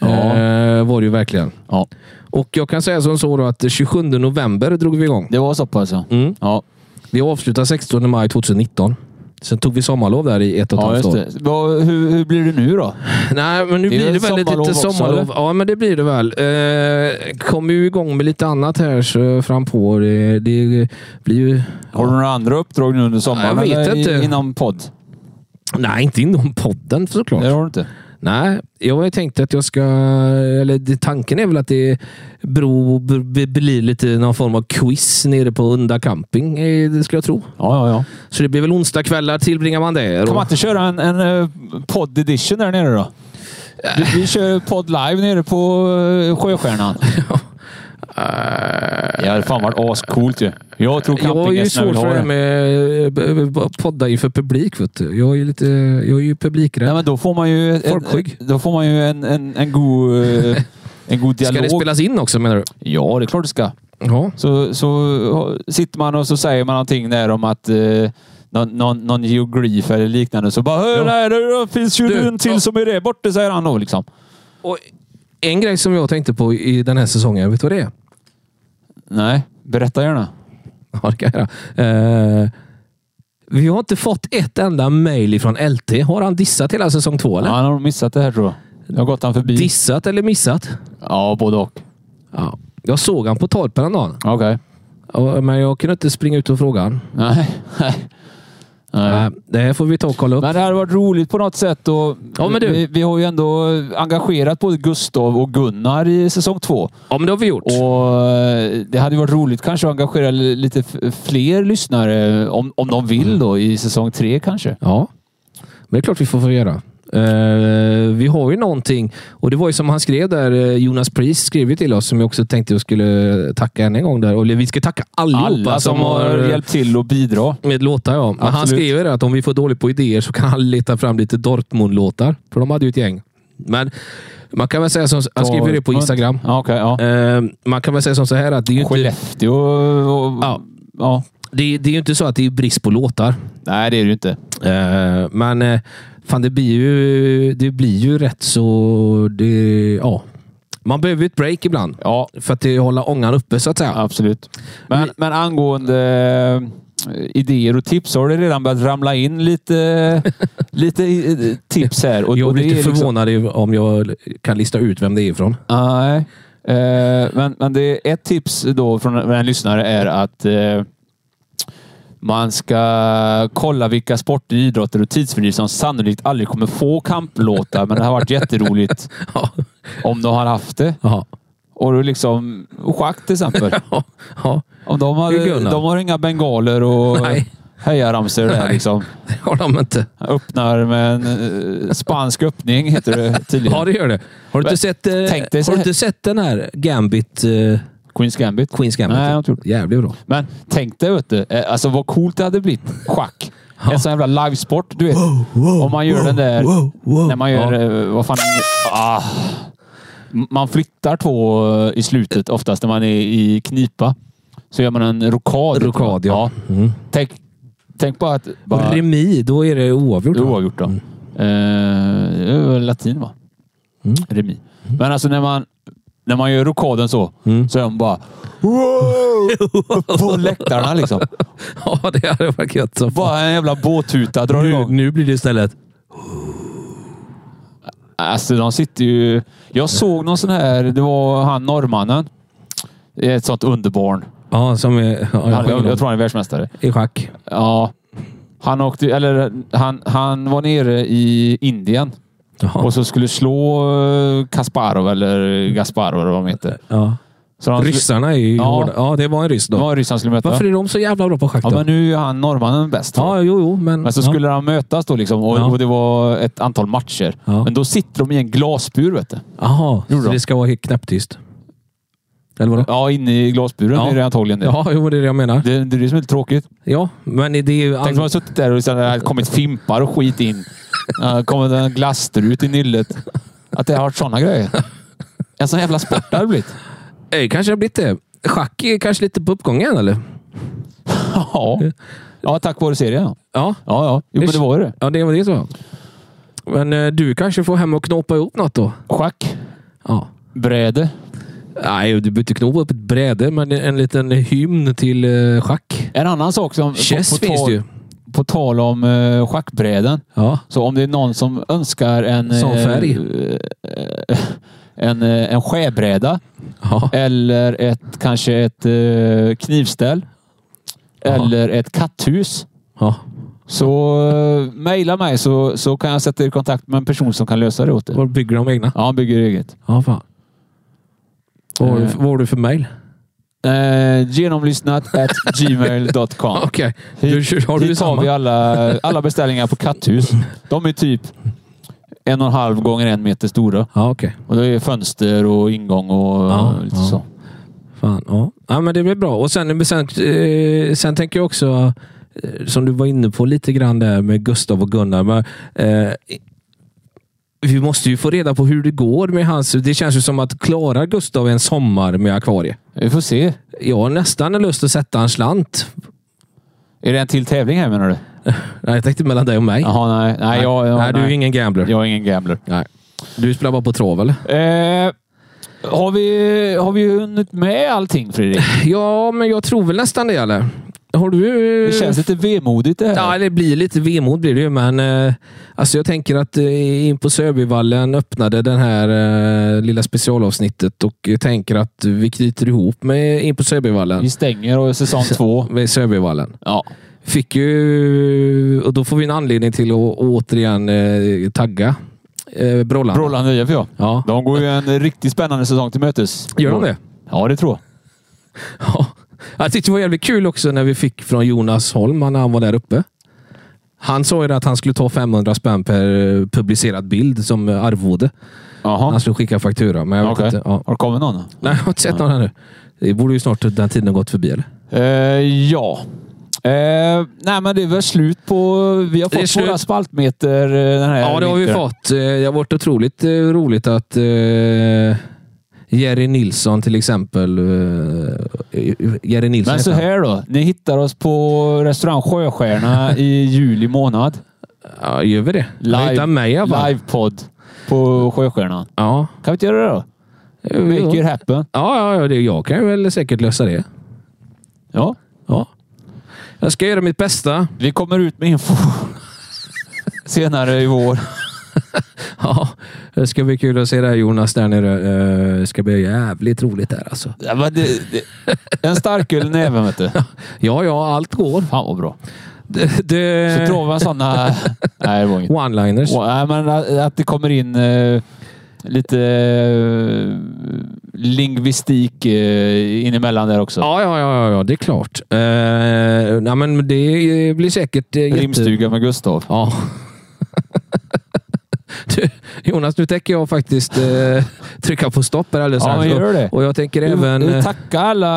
Speaker 4: Ja.
Speaker 3: Eh, var det ju verkligen.
Speaker 4: Ja,
Speaker 3: Och jag kan säga som så då att 27 november drog vi igång.
Speaker 4: det var så pass ja.
Speaker 3: Mm.
Speaker 4: Ja,
Speaker 3: Vi avslutade 16 maj 2019. Sen tog vi sommarlov där i ett och ett
Speaker 4: ja
Speaker 3: halvt
Speaker 4: just
Speaker 3: år.
Speaker 4: det. Vad- Hur, hur blir det nu då?
Speaker 3: [LAUGHS] Nej, men nu
Speaker 4: Det är
Speaker 3: blir det väl
Speaker 4: väl sommarlov
Speaker 3: lite
Speaker 4: också,
Speaker 3: sommarlov.
Speaker 4: eller?
Speaker 3: ja, men det blir det väl. Eh, kom ju igång med lite annat här så fram på. Det, det blir ju...
Speaker 4: Har du några andra uppdrag nu under sommaren?
Speaker 3: Jag vet
Speaker 4: eller i-
Speaker 3: inte.
Speaker 4: Inom podd?
Speaker 3: Nej, inte inom podden såklart.
Speaker 4: Det har du inte.
Speaker 3: Nej, jag har ju tänkt att jag ska... Eller det- tanken är väl att det bro, b, b, blir lite någon form av quiz nere på Unda camping. eh, Det skulle jag tro.
Speaker 4: Ja, ja, ja.
Speaker 3: Så det blir väl onsdagskvällar tillbringar man där.
Speaker 4: Kan
Speaker 3: och-
Speaker 4: man inte köra en, en eh, podd edition där nere då? Vi, vi kör podd live nere på eh, Sjöstjärnan. Det hade fan varit ascoolt ju. Jag tror
Speaker 3: Jag är ju
Speaker 4: campinggästerna
Speaker 3: svårt
Speaker 4: Eh,
Speaker 3: för
Speaker 4: vill ha
Speaker 3: det här med
Speaker 4: det.
Speaker 3: eh, b- b- podda inför publik. Vet du. Jag är ju lite... Jag är ju publikrädd.
Speaker 4: Nej, men då får man ju en,
Speaker 3: Folkskygg.
Speaker 4: då får man ju en, en, en, god, eh, en god
Speaker 3: Ska
Speaker 4: dialog.
Speaker 3: det spelas in också menar du?
Speaker 4: Ja, det är klart det ska.
Speaker 3: Ja.
Speaker 4: Så, så sitter man och så säger man någonting där om att eh, någon, någon, någon geograf eller liknande. Så bara ja. nej, det finns ju
Speaker 3: Du,
Speaker 4: en till
Speaker 3: ja.
Speaker 4: som är där borta, säger han då. Liksom.
Speaker 3: Och en grej som jag tänkte på i den här säsongen, vet du vad det är?
Speaker 4: Nej, berätta gärna.
Speaker 3: [LAUGHS] Ja, det kan jag göra. Eh, vi har inte fått ett enda mejl från LT. Har han dissat hela säsong två? Eller?
Speaker 4: Ja, han har nog missat det här tror jag. Det har gått han förbi.
Speaker 3: Dissat eller missat?
Speaker 4: ja, både och.
Speaker 3: Ja. Jag såg han på torpen en dag,
Speaker 4: Okej.
Speaker 3: och- men jag kunde inte springa ut och fråga han.
Speaker 4: Nej. Nej. Nej.
Speaker 3: Nej, Det här får vi ta och kolla upp.
Speaker 4: Men det hade varit roligt på något sätt. Och
Speaker 3: Ja, men du.
Speaker 4: Vi, vi har ju ändå engagerat både Gustav och Gunnar i säsong två.
Speaker 3: Ja, men det har vi gjort.
Speaker 4: Och eh, det hade varit roligt kanske att engagera li- lite f- fler lyssnare eh, om, om de vill då i säsong tre kanske.
Speaker 3: Ja, men det är klart vi får få göra. Eh, vi har ju någonting och det var ju som han skrev där, eh, Jonas Priest skrev ju till oss som jag också tänkte jag skulle tacka än en gång där. Och vi ska tacka allihopa
Speaker 4: Alla som har hjälpt till och bidra.
Speaker 3: med låtar. Ja. Men han
Speaker 4: Absolut.
Speaker 3: skrev ju det att om vi får dåligt på idéer så kan han leta fram lite Dortmund-låtar. För de hade ju ett gäng. Men man kan väl säga som, han skrev ju det på
Speaker 4: Dortmund.
Speaker 3: Instagram. Ehm,
Speaker 4: Ja, okej, ja.
Speaker 3: Eh, man kan väl säga som så här att det är ju inte...
Speaker 4: Skellefteå och... och
Speaker 3: Ja.
Speaker 4: ja.
Speaker 3: det, det är ju inte så att det är brist på låtar.
Speaker 4: Nej, det är det ju inte.
Speaker 3: Eh, men eh, fan, det blir ju, det blir ju rätt så... Det, ja. Man behöver ju ett break ibland.
Speaker 4: Ja,
Speaker 3: För att det hålla ångan uppe, så att säga.
Speaker 4: absolut. Men, men angående eh, idéer och tips så har det redan börjat ramla
Speaker 3: [LAUGHS]
Speaker 4: in lite, lite eh, tips här. Och,
Speaker 3: jag
Speaker 4: och
Speaker 3: blir
Speaker 4: det
Speaker 3: lite
Speaker 4: är liksom-
Speaker 3: förvånad i- om jag kan lista ut vem det är ifrån.
Speaker 4: Nej. Eh, men, men det är ett tips då från en lyssnare är att eh, man ska kolla vilka sporter, idrotter och tidsfördriv som sannolikt aldrig kommer få kamplåtar, men det har varit jätteroligt
Speaker 3: Ja.
Speaker 4: om de har haft det.
Speaker 3: Ja.
Speaker 4: Och då liksom schack till exempel.
Speaker 3: Ja. Ja.
Speaker 4: Om de,
Speaker 3: Det är
Speaker 4: har,
Speaker 3: Gunnar.
Speaker 4: de har inga bengaler och
Speaker 3: [LAUGHS] Nej.
Speaker 4: hejaramsor där
Speaker 3: Nej.
Speaker 4: liksom.
Speaker 3: Det har de inte.
Speaker 4: Öppnar med en eh, spansk öppning, heter det tydligen.
Speaker 3: Ja, det gör det. Har du
Speaker 4: Men,
Speaker 3: inte sett, eh,
Speaker 4: tänk dig så
Speaker 3: har du
Speaker 4: här-
Speaker 3: inte sett den här Gambit, eh,
Speaker 4: Queens Gambit.
Speaker 3: Queens Gambit?
Speaker 4: Nej, jag har inte gjort
Speaker 3: Jävligt bra.
Speaker 4: Men tänk dig, vet du, eh, alltså vad coolt det hade blivit. Schack. En sån jävla livesport, du vet. Om man gör den där... När man gör... eh, Vad fan... Ah. M- Man flyttar två eh, i slutet oftast när man är i knipa. Så gör man en rokad. liksom.
Speaker 3: Rokad, ja. Mm.
Speaker 4: Tänk, tänk bara att... Bara,
Speaker 3: Och Remi, då är det oavgjort. va?
Speaker 4: Oavgjort då.
Speaker 3: Mm.
Speaker 4: Eh, det var latin va?
Speaker 3: Mm.
Speaker 4: Remi. Men alltså när man, när man gör rokaden så,
Speaker 3: Mm.
Speaker 4: så är de bara...
Speaker 3: [LAUGHS]
Speaker 4: Wow! På läktarna liksom.
Speaker 3: [LAUGHS] Ja, det hade varit gött som fan.
Speaker 4: Bara en jävla båthuta drar
Speaker 3: nu,
Speaker 4: igång.
Speaker 3: nu blir det istället...
Speaker 4: Alltså de sitter ju... Jag såg någon sån här... Det var han norrmannen. Ett sånt underbarn.
Speaker 3: Ja, som är... Ja,
Speaker 4: Han, jag,
Speaker 3: jag,
Speaker 4: jag tror han är världsmästare.
Speaker 3: I schack.
Speaker 4: Ja. Han åkte... Eller han, han var nere i Indien
Speaker 3: Jaha.
Speaker 4: och så skulle slå eh, Kasparov eller Gasparov eller vad de heter.
Speaker 3: Ja.
Speaker 4: Så de skulle-
Speaker 3: Ryssarna är ju
Speaker 4: Ja.
Speaker 3: hårda. Ja, det var en ryss
Speaker 4: Det
Speaker 3: då.
Speaker 4: var ryssen skulle möta.
Speaker 3: Varför är de så jävla bra på schack
Speaker 4: Ja,
Speaker 3: då?
Speaker 4: men nu är han norrmannen bäst.
Speaker 3: ja jo, jo, men...
Speaker 4: Men så
Speaker 3: ja.
Speaker 4: skulle de mötas då liksom och,
Speaker 3: Ja.
Speaker 4: och det var ett antal matcher.
Speaker 3: Ja.
Speaker 4: Men då sitter de i en glasbur, vet du.
Speaker 3: Jaha,
Speaker 4: Gjorde
Speaker 3: så
Speaker 4: de?
Speaker 3: det ska vara helt knäpptyst. Eller vadå?
Speaker 4: Ja, inne i glasburen
Speaker 3: Ja.
Speaker 4: är det antagligen det.
Speaker 3: Ja, jo, det är det jag menar.
Speaker 4: Det, det är det som är lite tråkigt.
Speaker 3: Ja, men det är ju...
Speaker 4: Tänk om man har suttit där och sen har det kommit fimpar och skit in. Uh, kommit en glasstrut i nyllet. Att det har varit sådana grejer. En sån jävla sport det hade blivit.
Speaker 3: Eh, kanske har blivit det. Schack är kanske lite på uppgången, eller?
Speaker 4: Ja. ja, tack vare serien. Ja,
Speaker 3: Ja,
Speaker 4: ja. ja. Jo, men det var ju det.
Speaker 3: ja det var det så. Men eh, du kanske får hem och knåpa ihop något då?
Speaker 4: Schack,
Speaker 3: Ja.
Speaker 4: bräde.
Speaker 3: Nej, du behöver inte knåpa upp ett bräde, men en liten hymn till eh, schack.
Speaker 4: En annan sak som...
Speaker 3: Chess finns
Speaker 4: tal,
Speaker 3: det ju.
Speaker 4: på tal om uh, schackbräden.
Speaker 3: Ja.
Speaker 4: Så om det är någon som önskar en...
Speaker 3: Sån
Speaker 4: eh,
Speaker 3: färg.
Speaker 4: eh, en, eh, en skärbräda
Speaker 3: ja.
Speaker 4: eller ett, kanske ett eh, knivställ
Speaker 3: Jaha.
Speaker 4: eller ett katthus.
Speaker 3: ja.
Speaker 4: Så eh, mejla mig så, så kan jag sätta er i kontakt med en person som kan lösa det åt er.
Speaker 3: Var bygger de egna?
Speaker 4: Ja, han bygger eget.
Speaker 3: Ja, fan. Vad har du,
Speaker 4: Eh.
Speaker 3: vad har du för mejl?
Speaker 4: Eh,
Speaker 3: [LAUGHS]
Speaker 4: genomlyssnat at gmail.com.
Speaker 3: Okej. Du,
Speaker 4: Hit,
Speaker 3: kör- har du
Speaker 4: hit har vi
Speaker 3: samma?
Speaker 4: alla, alla beställningar på katthus. De är typ en och en halv gånger en meter stora.
Speaker 3: Ja, okej.
Speaker 4: Och det är fönster och ingång och
Speaker 3: Ja,
Speaker 4: eh, lite
Speaker 3: ja.
Speaker 4: så.
Speaker 3: Fan, ja. ja men det blir bra. Och sen, sen, eh, sen tänker jag också, eh, som du var inne på lite grann där med Gustav och Gunnar. Men, eh, vi måste ju få reda på hur det går med hans... Det känns ju som att klarar Gustav en sommar med akvarie?
Speaker 4: Vi får se.
Speaker 3: Jag har nästan lust att sätta en slant.
Speaker 4: Är det en till tävling här menar du?
Speaker 3: Nej, Jag tänkte mellan dig och mig.
Speaker 4: Jaha, nej. Nej, jag, jag,
Speaker 3: nej, du är ingen gambler.
Speaker 4: jag är ingen gambler.
Speaker 3: Nej. Du spelar bara på trav, eller?
Speaker 4: Eh, har, vi, har vi hunnit med allting Fredrik?
Speaker 3: Ja, men jag tror väl nästan det, eller? Har du...
Speaker 4: Det känns lite vemodigt det här.
Speaker 3: Ja, det blir lite vemod blir det ju, men eh, alltså jag tänker att eh, in på Söbyvallen öppnade den här eh, lilla specialavsnittet och jag tänker att vi knyter ihop med in på Söbyvallen.
Speaker 4: Vi stänger och säsong två.
Speaker 3: Med Söbyvallen.
Speaker 4: Ja.
Speaker 3: Fick ju, och då får vi en anledning till att återigen eh, tagga eh, Brollan.
Speaker 4: Brollan nya för jag.
Speaker 3: Ja.
Speaker 4: De går ju en riktigt spännande säsong till mötes.
Speaker 3: Gör de det?
Speaker 4: Ja, det tror jag.
Speaker 3: Ja. Jag tyckte det var jävligt kul också när vi fick från Jonas Holm när han var där uppe. Han sa ju att han skulle ta 500 spänn per eh, publicerad bild som eh, arvode.
Speaker 4: Jaha.
Speaker 3: Han skulle skicka faktura, men jag vet
Speaker 4: Okej.
Speaker 3: inte. Ja.
Speaker 4: Har det kommit någon?
Speaker 3: Nej, jag har inte sett någon ännu. Det borde ju snart den tiden ha gått förbi, eller?
Speaker 4: Eh, ja. Eh, nej, men det är väl slut på... Vi har
Speaker 3: Det är
Speaker 4: fått våra
Speaker 3: slut.
Speaker 4: spaltmeter eh, den här
Speaker 3: Ja, det har vi
Speaker 4: vintern.
Speaker 3: fått. Eh, Det har varit otroligt eh, roligt att eh, Jerry Nilsson till exempel. eh, Jerry Nilsson
Speaker 4: Men så
Speaker 3: heter han.
Speaker 4: här då. Ni hittar oss på restaurang Sjöstjärna i juli månad.
Speaker 3: Ja, gör vi det? Live,
Speaker 4: Live,
Speaker 3: Hitta mig i alla fall.
Speaker 4: livepodd på Sjöstjärnan.
Speaker 3: Ja.
Speaker 4: Kan vi inte göra det då? Make it
Speaker 3: ja,
Speaker 4: happen.
Speaker 3: ja, ja det, jag kan ju väl säkert lösa det.
Speaker 4: Ja.
Speaker 3: Ja. Jag ska göra mitt bästa.
Speaker 4: Vi kommer ut med info [LAUGHS] senare i vår.
Speaker 3: Ja, det ska bli kul att se dig Jonas där nere. Eh, Det ska bli jävligt roligt där alltså.
Speaker 4: Ja, men det, det, en starköl i näven vet du.
Speaker 3: Ja, ja, allt går.
Speaker 4: Fan vad bra.
Speaker 3: Det,
Speaker 4: Så
Speaker 3: det,
Speaker 4: provar jag sådana... Nej, det var inget.
Speaker 3: One-liners.
Speaker 4: Och, nej, men att- att det kommer in eh, lite eh, lingvistik eh, in emellan där också.
Speaker 3: Ja, ja, ja, ja, ja, det är klart. Eh, nej, men det blir säkert... eh, jätte-
Speaker 4: Rimstuga med Gustav.
Speaker 3: Ja. [LAUGHS] Du, Jonas, nu tänker jag faktiskt eh, trycka på stopp här alldeles
Speaker 4: Ja,
Speaker 3: strax.
Speaker 4: men gör det.
Speaker 3: Och, och jag tänker
Speaker 4: Vi-
Speaker 3: även...
Speaker 4: vi
Speaker 3: eh,
Speaker 4: tackar alla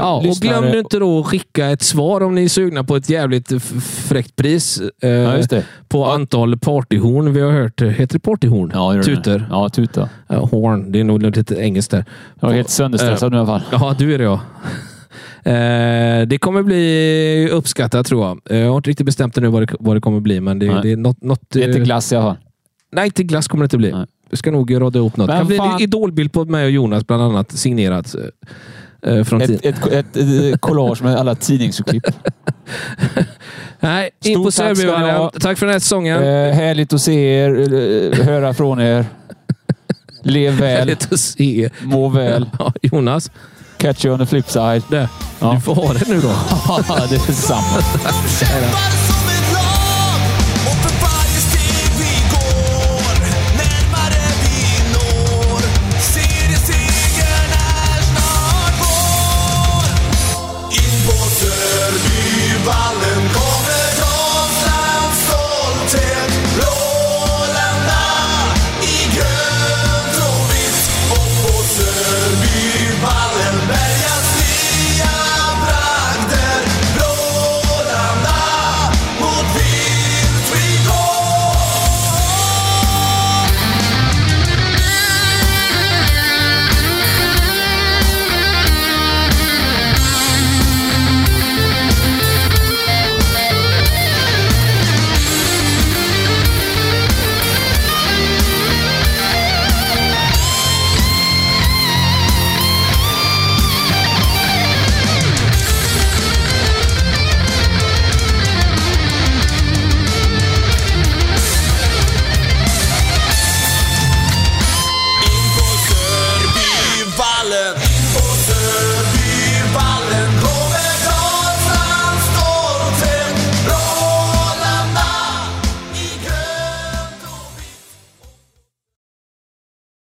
Speaker 3: Ja, och
Speaker 4: lyssnare.
Speaker 3: glöm nu inte då att skicka ett svar om ni är sugna på ett jävligt f- fräckt pris eh,
Speaker 4: Ja, just det.
Speaker 3: på antal partyhorn vi har hört. Heter det partyhorn?
Speaker 4: Ja, gör det.
Speaker 3: Tutor.
Speaker 4: Ja, tuta.
Speaker 3: Eh, horn. Det är nog lite engelskt där.
Speaker 4: Jag är helt sönderstressad nu i alla fall.
Speaker 3: Ja, du är det ja. Eh, det kommer bli uppskattat tror jag. Eh, Jag har inte riktigt bestämt det nu vad det, vad det kommer bli, men det,
Speaker 4: Nej.
Speaker 3: det är något... något
Speaker 4: Det är inte
Speaker 3: eh,
Speaker 4: glass i alla fall.
Speaker 3: Nej, inte glass kommer det inte bli.
Speaker 4: Nej.
Speaker 3: Vi ska nog rada ihop något.
Speaker 4: Men
Speaker 3: det kan bli en
Speaker 4: fan-
Speaker 3: idolbild på mig och Jonas bland annat, signerat. eh, Från
Speaker 4: Ett,
Speaker 3: tid.
Speaker 4: ett, ett, ett collage med
Speaker 3: [LAUGHS]
Speaker 4: alla tidningsurklipp.
Speaker 3: Nej, in
Speaker 4: stort
Speaker 3: på
Speaker 4: tack ska ni
Speaker 3: Sörbyvallen.
Speaker 4: ha.
Speaker 3: Tack för den här säsongen.
Speaker 4: Eh, härligt att se er, eh, höra från er. Lev
Speaker 3: [LAUGHS]
Speaker 4: väl,
Speaker 3: Härligt att se.
Speaker 4: må väl.
Speaker 3: Ja, Jonas,
Speaker 4: Catch you on the flip side.
Speaker 3: det.
Speaker 4: [LAUGHS] Ja.
Speaker 3: du får ha det nu då.
Speaker 4: det är samma.
Speaker 7: Kämpar som